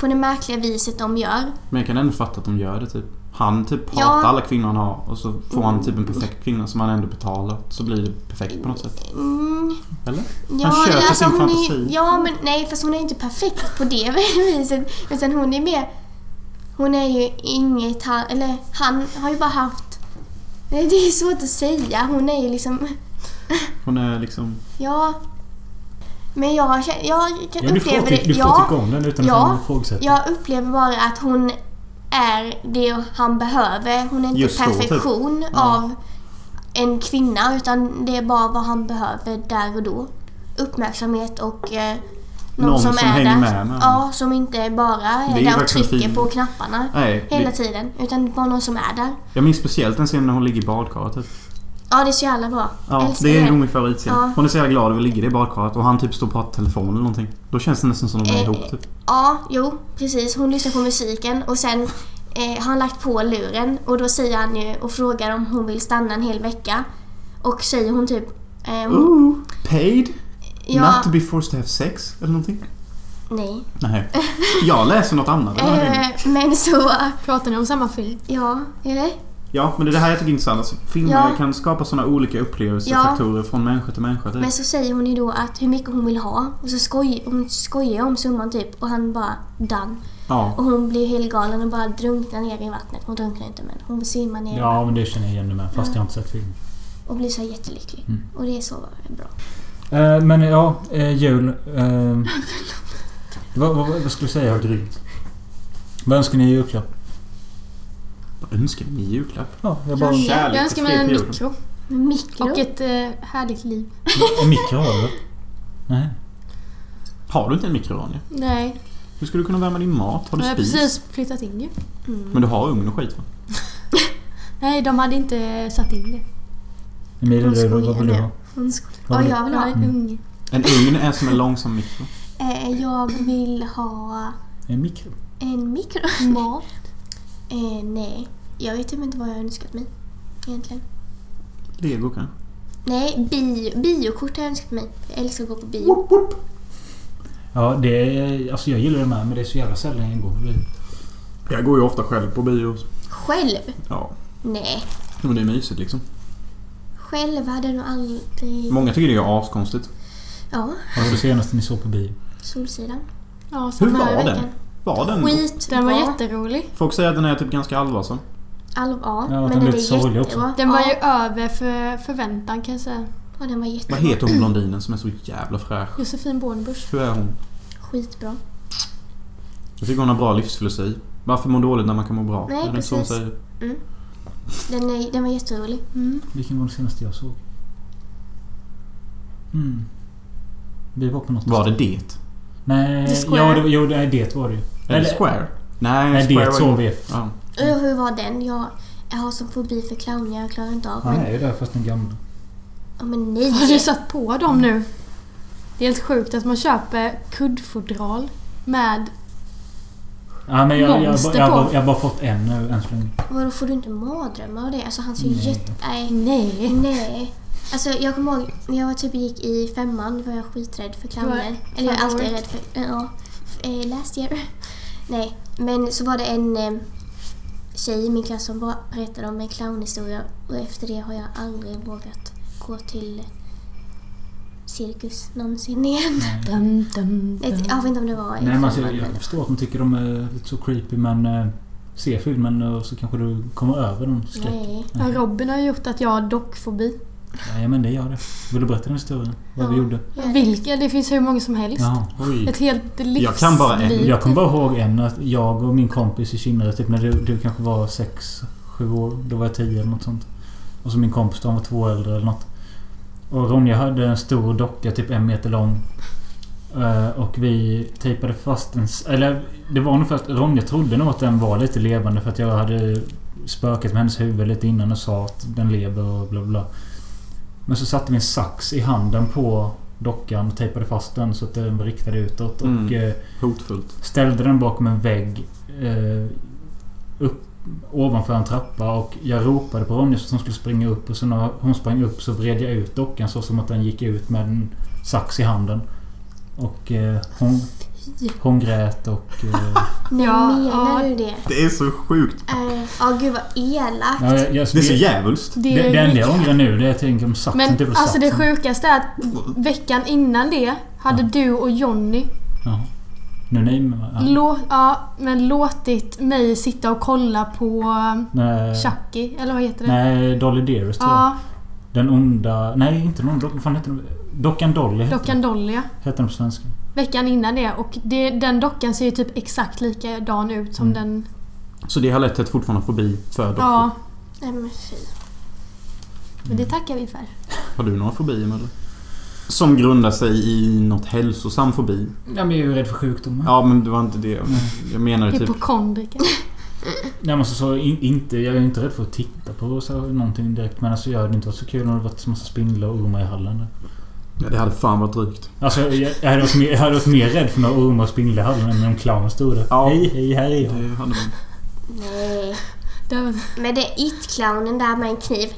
På det märkliga viset de gör. Men jag kan ändå fatta att de gör det typ. Han typ hatar Ja. Mm. alla kvinnor han har och så får han typ en perfekt kvinna som han ändå betalar. Så blir det perfekt på något sätt. Mm, Eller? Ja, Han köper eller alltså, sin hon fantasi. Är, ja, men nej, fast hon är ju inte perfekt på det viset. Utan hon är mer... Hon är ju inget... Han, eller han har ju bara haft... Nej, det är svårt att säga. Hon är ju liksom... Hon är liksom... Ja... Men jag, känner- jag kan Ja, du får, uppleva ty- det... du får ja, tycka om den utan Ja. att någon ifrågasätter. jag upplever bara att hon är det han behöver. Hon är inte Just då, typ. perfektion Ja. av en kvinna utan det är bara vad han behöver där och då. Uppmärksamhet och eh, någon, Någon som, som är hänger där. med med honom. Ja, som inte bara är, Det är ju där och verkligen trycker fin. på knapparna Nej. hela det- tiden. Utan bara någon som är där. Jag minns speciellt en scen när hon ligger i badkaret typ. Ja, det är så jävla bra. Ja, Älskar det är det. nog min favoritscen. Ja. Hon är så jävla glad över att ligga i badkaret och han typ står och pratar i telefon eller någonting. Då känns det nästan som de är Eh, ihop typ. Ja, jo, precis. Hon lyssnar på musiken och sen eh, har han lagt på luren och då säger han ju och frågar om hon vill stanna en hel vecka. Och säger hon typ... ehm, Ooh, paid? ja, Not to be forced to have sex? Eller någonting? nej. Nej. Jag läser något annat. den här gången. Eh, men så... eh, Pratar ni om samma film? Ja, eller? Ja, men det är det här jag tycker är intressant. Alltså, filmer Ja. kan skapa sådana olika upplevelsefaktorer från människa till människa. Typ. Men så säger hon ju då att hur mycket hon vill ha och så skoj, hon skojar om summan typ och han bara done. Ja. Och hon blir helt galen och bara drunknar ner i vattnet. Hon drunknar inte men hon simmar ner Ja, men det känner jag igen nu med. Fast jag har inte sett filmen. och blir så här jättelycklig. Och det är så bra. Eh, men ja, eh, jul. Eh, vad, vad, vad skulle du säga? Grymt. Vad önskar ni i julklapp? Vad önskar ni i julklapp? Ja, jag bara... Kärlek Jag önskar mig en och fred på mikro. Mikro. Och ett eh, härligt liv. En mikro har du? Nej. Har du inte en mikrovånare? Nej. Hur ska du kunna värma din mat? Har Jag du har spis? precis flyttat in ju. Mm. Men du har ugn och skit va? Nej, de hade inte satt in det. Emilia, Hon du, vad vad skojar vill du nu. ha? Hon skojar. Vad Vad vill- jag vill Jag ha? har en unge. En ugn är som en långsam mikro. Eh, jag vill ha En mikro? en mikro. Mat. Eh, nej, jag vet typ inte vad jag har önskat mig. Egentligen. Lego kanske? Nej, bio, biokort har jag önskat mig. Jag älskar att gå på bio. Ja, det är... Alltså jag gillar det med, men det är så jävla sällan jag går på bio. Jag går ju ofta själv på bio. Själv? Ja. Nej. Men det är mysigt liksom. Själv hade jag nog aldrig... Många tycker det är askonstigt. Ja, Vad var Alltså, det senaste ni såg på bio? Solsidan. Ja, Hur så. Förra var den? veckan. Var den? Skitbra. Den var jätterolig. Folk säger att den är typ ganska allvarsam. Alv A. den men är den är lite sorglig jättebra. också. Den var ja. ju över för förväntan kan jag säga. ja, den var Vad jättebra. heter hon blondinen som är så jävla fräsch? Josefin Bornebusch. Hur är hon? Skitbra. Jag tycker hon har bra livsfilosofi. Varför må dåligt när man kan må bra? Nej, är det inte så hon precis. säger? Den, är, den var jätterolig. Mm. Vilken var det senaste jag såg? Mm. Vi var på något... Var det det? Nej, The Square? ja, det, jo, nej, det var det ju. Eller, Square? Nej, Nej, Square det såg vi. Ja. Och hur var den? Jag, jag har som fobi för clowner. Jag klarar inte av Han men, är ju där fast den gamla. ja, men nej. Har du satt på dem nu? Det är helt sjukt att man köper kuddfodral med Ja, men jag, jag, jag, jag, Monster jag, har på. bara- jag har bara fått en nu än så länge. Vadå, får du inte mardrömmar och det? Alltså han ser ju Nej. jätte... Nej. Nej. Nej. Alltså jag kommer ihåg när jag typ gick i femman var jag skiträdd för Du clowner. var Eller jag är alltid favorit. rädd för... Ja. f- eh, Last year. Nej, men så var det en eh, tjej i min klass som bara berättade om en clownhistoria och efter det har jag aldrig vågat gå till cirkus någonsin igen. Dum, dum, Jag vet- dum. jag vet inte om det var i Nej, men alltså, jag, femman. jag förstår att de tycker de är lite så creepy men... Eh, se filmen och så kanske du kommer över den skräcken. Nej. Ja, Robin har gjort att jag har dockfobi. Nej, men det gör det. Vill du berätta den historien? Vad vi Ja. gjorde? Vilka? Det finns hur många som helst. Jaha. Ett helt livsliv. Jag kan bara en. Eh, Jag kommer bara ihåg en att jag och min kompis i Kinna, typ när du, du kanske var sex, sju år. Då var jag 10 eller något sånt. Och så min kompis då, han var två äldre eller något. Och Ronja hade en stor docka, typ en meter lång. Eh, Och vi tejpade fast en... s- Eller det var nog för att Ronja trodde nog att den var lite levande för att jag hade spökat med hennes huvud lite innan och sa att den lever och bla bla. Men så satte vi en sax i handen på dockan och tejpade fast den så att den var riktad utåt. Och, Mm. eh, Hotfullt. Ställde den bakom en vägg. Eh, upp ovanför en trappa och jag ropade på Ronja så att hon skulle springa upp. Och så när hon sprang upp så vred jag ut dockan så som att den gick ut med en sax i handen. Och eh, hon, hon grät och... Eh, Nej, Ja, menar ja. du det? Det är så sjukt. Eh, Ja, gud vad elakt. ja, jag, jag, Det är så djävulskt. Det det, är det enda jag riktigt- ångrar nu det är att jag tänker om saxen. Men typ av alltså det saxen. sjukaste är att veckan innan det hade Ja. du och Jonny Ja. Nu nej men... Ja. lå- ja, men låtit mig sitta och kolla på eh, Nej, Chucky, eller vad heter det? nej, Dolly Dearest tror jag. ja, Den onda... Nej, inte den onda. Vad fan heter den? Dockan Dolly heter dockan Dolly. ja. den- heter den på svenska. Veckan innan det. Och det, den dockan ser ju typ exakt likadan ut som Mm. den... Så det har lett till att fortfarande fobi för dockor. Ja, Nej men fy. men det tackar vi för. Har du några fobier eller? Som grundar sig i något hälsosam fobi. Ja, men jag är ju rädd för sjukdomar. Ja, men det var inte det. Jag menade typ... Hypokondriker. Nej, men så, så, in, inte, jag är ju inte rädd för att titta på så, någonting direkt. Men alltså, jag hade inte varit så kul om det varit en massa spindlar och ormar i hallen. där. Ja, Det hade fan varit drygt. Alltså, jag, jag, hade varit mer, jag hade varit mer rädd för några ormar och spindlar i hallen än när en clown stod där. Ja. Hej, hej, här är jag. Det hade man. Nej. Det var- Men det är it-clownen där med en kniv.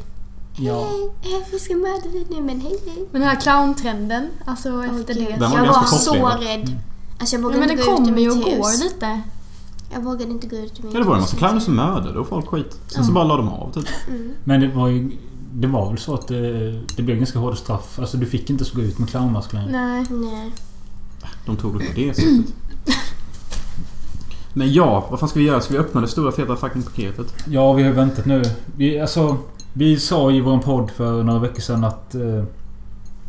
Ja. Hej, eh, vi ska mörda dig nu men hej hej. Men den här clowntrenden, alltså efter Åh, det. gud. Den var jag ganska Mm. var så kortlivad. rädd. Alltså jag Nej, vågade men inte det gå ut ur kommer ju mitt och hus. går lite. Jag vågade inte gå ut ur mitt Ja, det var en massa hus. clowner som mördade och folk skit. Sen så bara la de av typ. Men det var ju... Det var väl så att det, det blev ganska hårda straff. Alltså, du fick inte så gå ut med clownmask längre. Nej. Nej. De tog det på det sättet. Men ja, vad fan ska vi göra? Ska vi öppna det stora feta fucking paketet? Ja, vi har ju väntat nu. Vi, alltså, vi sa i vår podd för några veckor sedan att eh,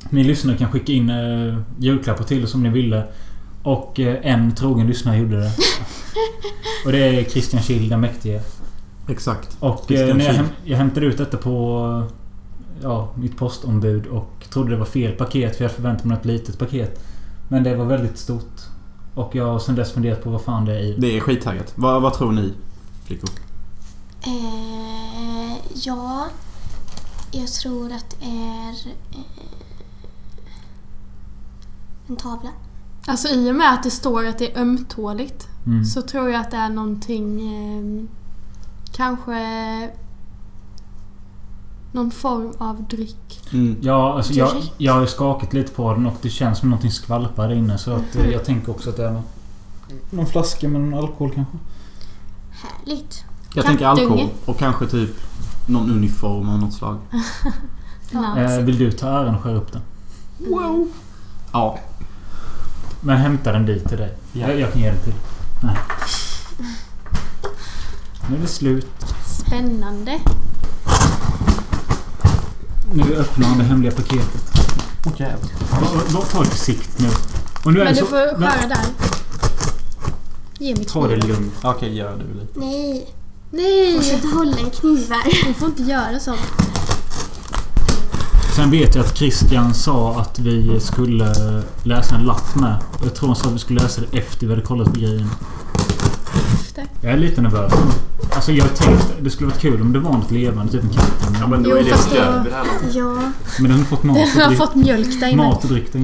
ni lyssnare kan skicka in eh, julklappar till oss om ni ville. Och eh, en trogen lyssnare gjorde det. och det är Christian Kjell, den mäktige. Exakt. Och eh, Christian när jag, Kjell. häm- jag hämtade ut detta på eh, ja, mitt postombud och trodde det var fel paket för jag förväntade mig ett litet paket. Men det var väldigt stort. Och jag har sedan dess funderat på vad fan det är i. Det är skittaggat. Vad, vad tror ni? Flickor. Eh, ja. Jag tror att det är... Eh, en tavla. Alltså i och med att det står att det är ömtåligt Mm. så tror jag att det är någonting... Eh, kanske... Någon form av dryck. Mm. Ja, alltså jag, Direkt. jag har ju skakat lite på den och det känns som någonting skvalpar där inne. Så att, Mm. eh, jag tänker också att det är någon, någon flaska med någon alkohol kanske. Härligt. Jag tänker alkohol Kattunge. och kanske typ någon uniform av något slag. Eh, Nazi. vill du ta äran och skära upp den? Wow. Ja. Men hämta den dit till dig. Ja. Jag, jag kan ge den till dig. Nej. Nu är det slut. Spännande. Nu öppnar han det hemliga paketet. Åh jävlar. Var, var, var försiktigt nu. Och nu är Men det du så, får men- skära där. Ge mig Ta det kniven. lugnt. Okej, gör du lite. Nej. Nej! Fortsätt hålla en kniv här. Du får inte göra sånt. Sen vet jag att Christian sa att vi skulle läsa en lapp med. Och Jag tror han sa att vi skulle läsa det efter vi hade kollat på grejen. Tack. Jag är lite nervös. Alltså jag tänkte det skulle varit kul om det var något levande, typ en katt. eller något. Jo, fast jag, Ja. Men den har fått mat jag och har dryck. fått mjölk där inne. Mat och dryck. den-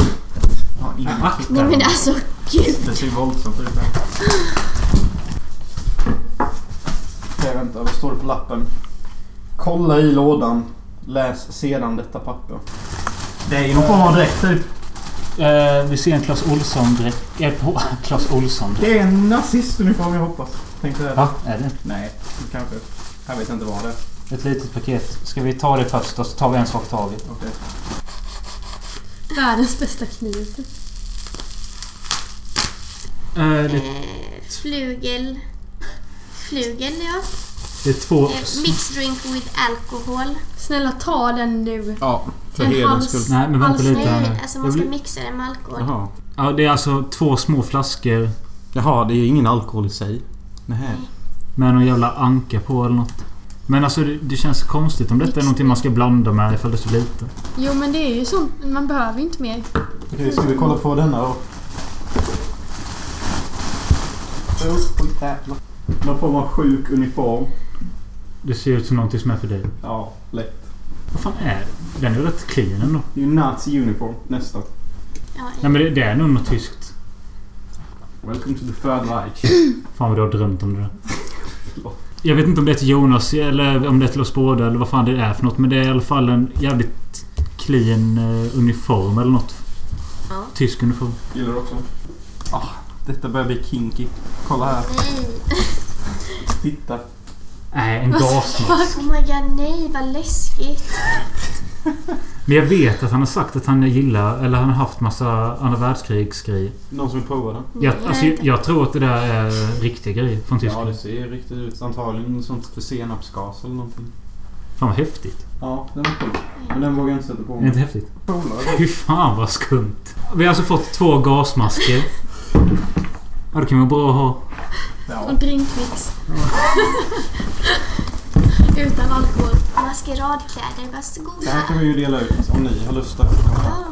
Ja, ingen- Nej men alltså gud. Det ser våldsamt ut. Nej, vänta. Vad står det på lappen? Kolla i lådan. Läs sedan detta papper. Det är ju någon form av dräkt typ. Eh, vi ser en Clas Ohlson-dräkt. Eh, på- Clas Ohlson. Det är en nazistuniform jag hoppas. Tänkte jag. Ja, är det? Nej, kanske. Jag vet inte vad det är. Ett litet paket. Ska vi ta det först och så tar vi en sak i taget? Okej. Världens bästa kniv. Eh, det, Flugel. Flugel, ja. det är två... Eh, Mixed drink with alcohol. Snälla ta den nu. Ja, för En hederns hals. skull. Nej, men vänta Alltså, lite här nu. Nej, alltså man Jag ska vill- mixa den med alkohol. Jaha. Ja, det är alltså två små flaskor Jaha, det är ingen alkohol i sig. Nej. med någon jävla anka på eller något. Men alltså det, det känns konstigt om detta är någonting man ska blanda med ifall det är så lite. Jo men det är ju sånt. Man behöver ju inte mer. Okej, ska vi kolla på denna då? Någon form av sjuk uniform. Det ser ut som någonting som är för dig. Ja, lätt. Vad fan är det? Den är ju rätt clean ändå. Det är ju nazi uniform, nästan. Ja, Nej men det, det är nog något tyskt. Welcome to the third Reich. Fan vad du har drömt om det där. Jag vet inte om det är till Jonas eller om det är till oss båda eller vad fan det är för något. Men det är i alla fall en jävligt clean eh, uniform eller något. Ja. Tysk uniform. Gillar du också? Ah, detta börjar bli kinky. Kolla här. nej. Titta. Nej, en gasmask. Oh my god, nej vad läskigt. Men jag vet att han har sagt att han gillar, eller han har haft massa andra världskrigsgrejer. Någon som vill prova den? Mm, Jag, Nej, alltså, jag jag, vet jag tror att det där är riktiga grejer från Ja, Tyskland. det ser riktigt ut. Antagligen sånt för senapsgas eller någonting. Fan vad häftigt. Ja, den var cool. Men den vågar jag inte sätta på Är det mig. inte häftigt? Polare. Fy fan vad skumt. Vi har alltså fått två gasmasker. Ja, det kan vara bra att ha. Och drinkmix. Utan alkohol. Maskeradkläder, varsågoda. Det här kan vi ju dela ut om ni har lust att Ja.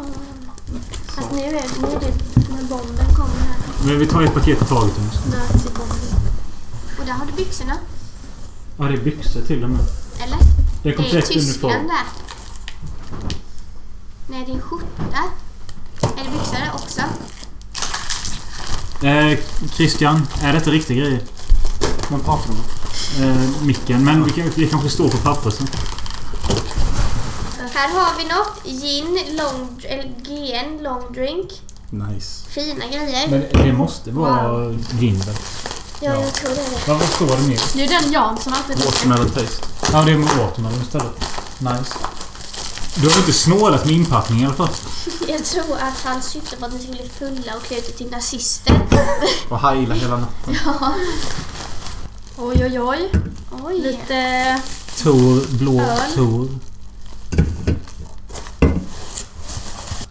Fast nu är det, nu är det när bomben kommer här. Men vi tar ett paket i taget. Jonas. Nazibomben. Och där har du byxorna. Ja, det är byxor till och med. Eller? Det är Det är komplett Tyskland uniform. där. Nej, det är en skjorta. Är det byxor där också? Eh, Christian, är detta riktiga grejer? Men pratar om Eh, micken. Men vi, kan, vi kanske står på papper sen. Här har vi något. Gin, long, eller GN, long drink. Nice. Fina grejer. Men det måste vara Gimberg. ja, jag tror det är det. Vad vad står det mer? Det är ju den Jan som alltid Watermelon taste. Ja, det är med watermelon istället. Nice. Du har inte snålat med inpackning i alla fall. Jag tror att hans syfte var att ni skulle fulla och klä ut er till nazister. Och heila hela natten. Oj oj oj. Oj. Lite... Tor, blå Öl. Tor.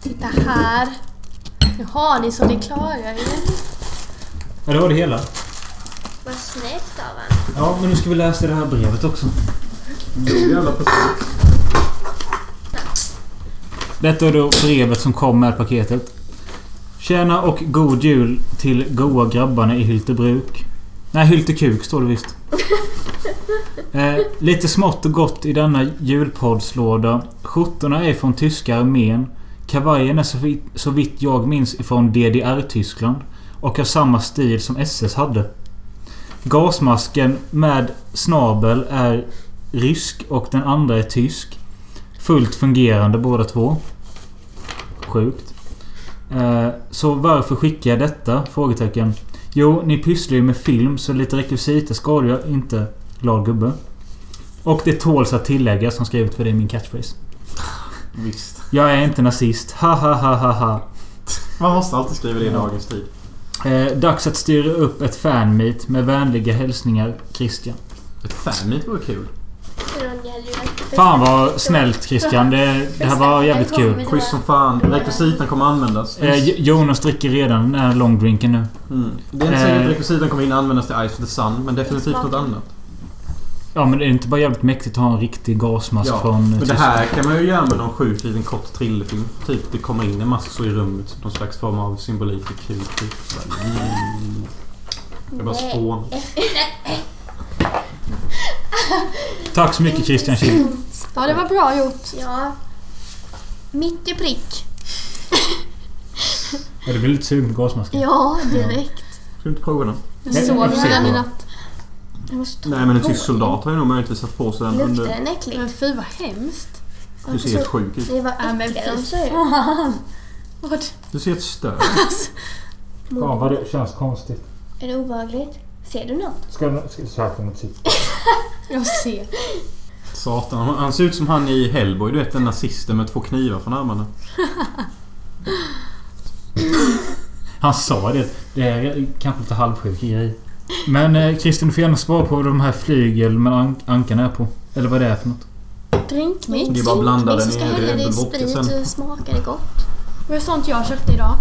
Titta här. Nu har ni så ni klarar er. Ja, det var det hela. Vad snällt av honom. Ja, men nu ska vi läsa det här brevet också. Jävla precis. Detta är då brevet som kom med paketet. Tjena och god jul till goa grabbarna i Hyltebruk. Nej, Hyltekuk står det visst. Eh, lite smått och gott i denna julpoddslåda. Skjortorna är från tyska armén. Kavajen är så vitt, så vitt jag minns ifrån DDR-Tyskland. Och har samma stil som SS hade. Gasmasken med snabel är rysk och den andra är tysk. Fullt fungerande båda två. Sjukt. Eh, så varför skickar jag detta? Frågetecken. Jo, ni pysslar ju med film så lite rekvisita skadar jag inte. Glad gubbe. Och det tåls att tilläggas som skrivit för det är min catchphrase. Visst. Jag är inte nazist. Ha ha ha ha ha. Man måste alltid skriva det i dagens tid. Eh, dags att styra upp ett fanmeet med vänliga hälsningar Christian. Ett fanmeet vore kul. Fan vad snällt Christian. Det, det här var jävligt kul. Schysst som fan. Rekvisitan kommer användas. Eh, Jo- Jonas dricker redan den här longdrinken nu. Mm. Det är inte Eh. säkert att rekvisitan kommer in användas till Ice of the Sun, men definitivt något annat. Ja men det är inte bara jävligt mäktigt att ha en riktig gasmask Ja, från eh, Mm. Men det Tyskland? här kan man ju göra med någon sjuk liten kort thrillerfilm. Typ det kommer in en massa så i rummet. som Någon slags form av symbolik i kul. Typ. Så här, mm. Jag bara spån. Tack så mycket Christian Kjell. Ja det var bra gjort. Ja. Mitt i prick. Ja, du blir lite sugen på gasmasken. Ja, direkt. Ska du inte prova den? Jag Nej, sov jag får se redan då. i natt. Jag måste ta Nej men en på tysk den. soldat har ju nog möjligtvis satt på sig den Luktar under... den äckligt? Men fy vad hemskt. Du ser helt Alltså, sjuk ut. Det var Ja, men äckligare fy än så här. fan. Vad? Du ser ett stör. Fan vad det känns konstigt. Är det obehagligt? Ser du något? Ska, ska söka mot sitt. Jag ser. Satan. Han han ser ut som han i Hellboy. Du vet den nazisten med två knivar från armarna. Han sa det. Det är kanske lite halvsjuk grej. Men eh, Kristin, du får gärna svara på vad de här flygel med an ankan är på. Eller vad det är för något. Drinkmix? Det är bara att blanda den Drinkmix. Jag i ska hälla det i botten sprit sen. och smaka det gott. Det var sånt jag köpte idag.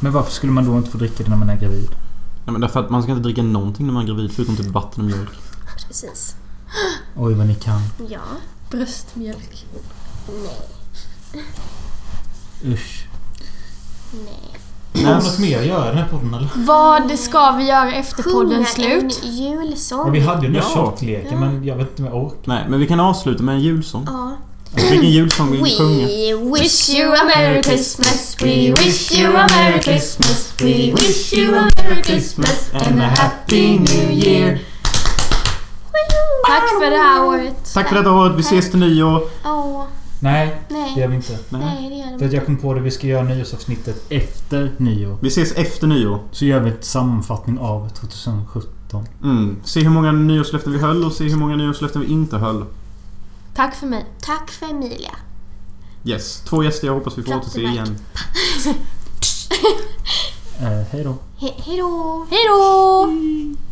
Men varför skulle man då inte få dricka det när man är gravid? Nej men därför att man ska inte dricka någonting när man är gravid förutom typ vatten och mjölk. Precis. Oj vad ni kan. Ja. Bröstmjölk. Usch. Nej. Har något mer att göra i den här podden eller? Vad ska vi göra efter Sjunga podden slut? en Ja, julsång. vi hade ju den där Ja. tjockleken men jag vet inte om jag orkar. Nej men vi kan avsluta med en julsång. Ja. Vilken julsång vill du sjunga? We wish you a merry Christmas. We wish you a merry Christmas. We wish you a merry Christmas and a happy new year. Tack för det här året. Tack för detta året. Vi ses till nyår. Åh, Nej, det gör nej. vi inte. Nej, det gör För det att jag inte. kom på det, vi ska göra nyårsavsnittet efter nyår. Vi ses efter nyår. Så gör vi en sammanfattning av 2017. Mm. Se hur många nyårslöften vi höll och se hur många nyårslöften vi inte höll. Tack för mig. Tack för Emilia. Yes. Två gäster jag hoppas vi får Klart återse det märks. igen. Eh, hej då. He- hej då! Hej då!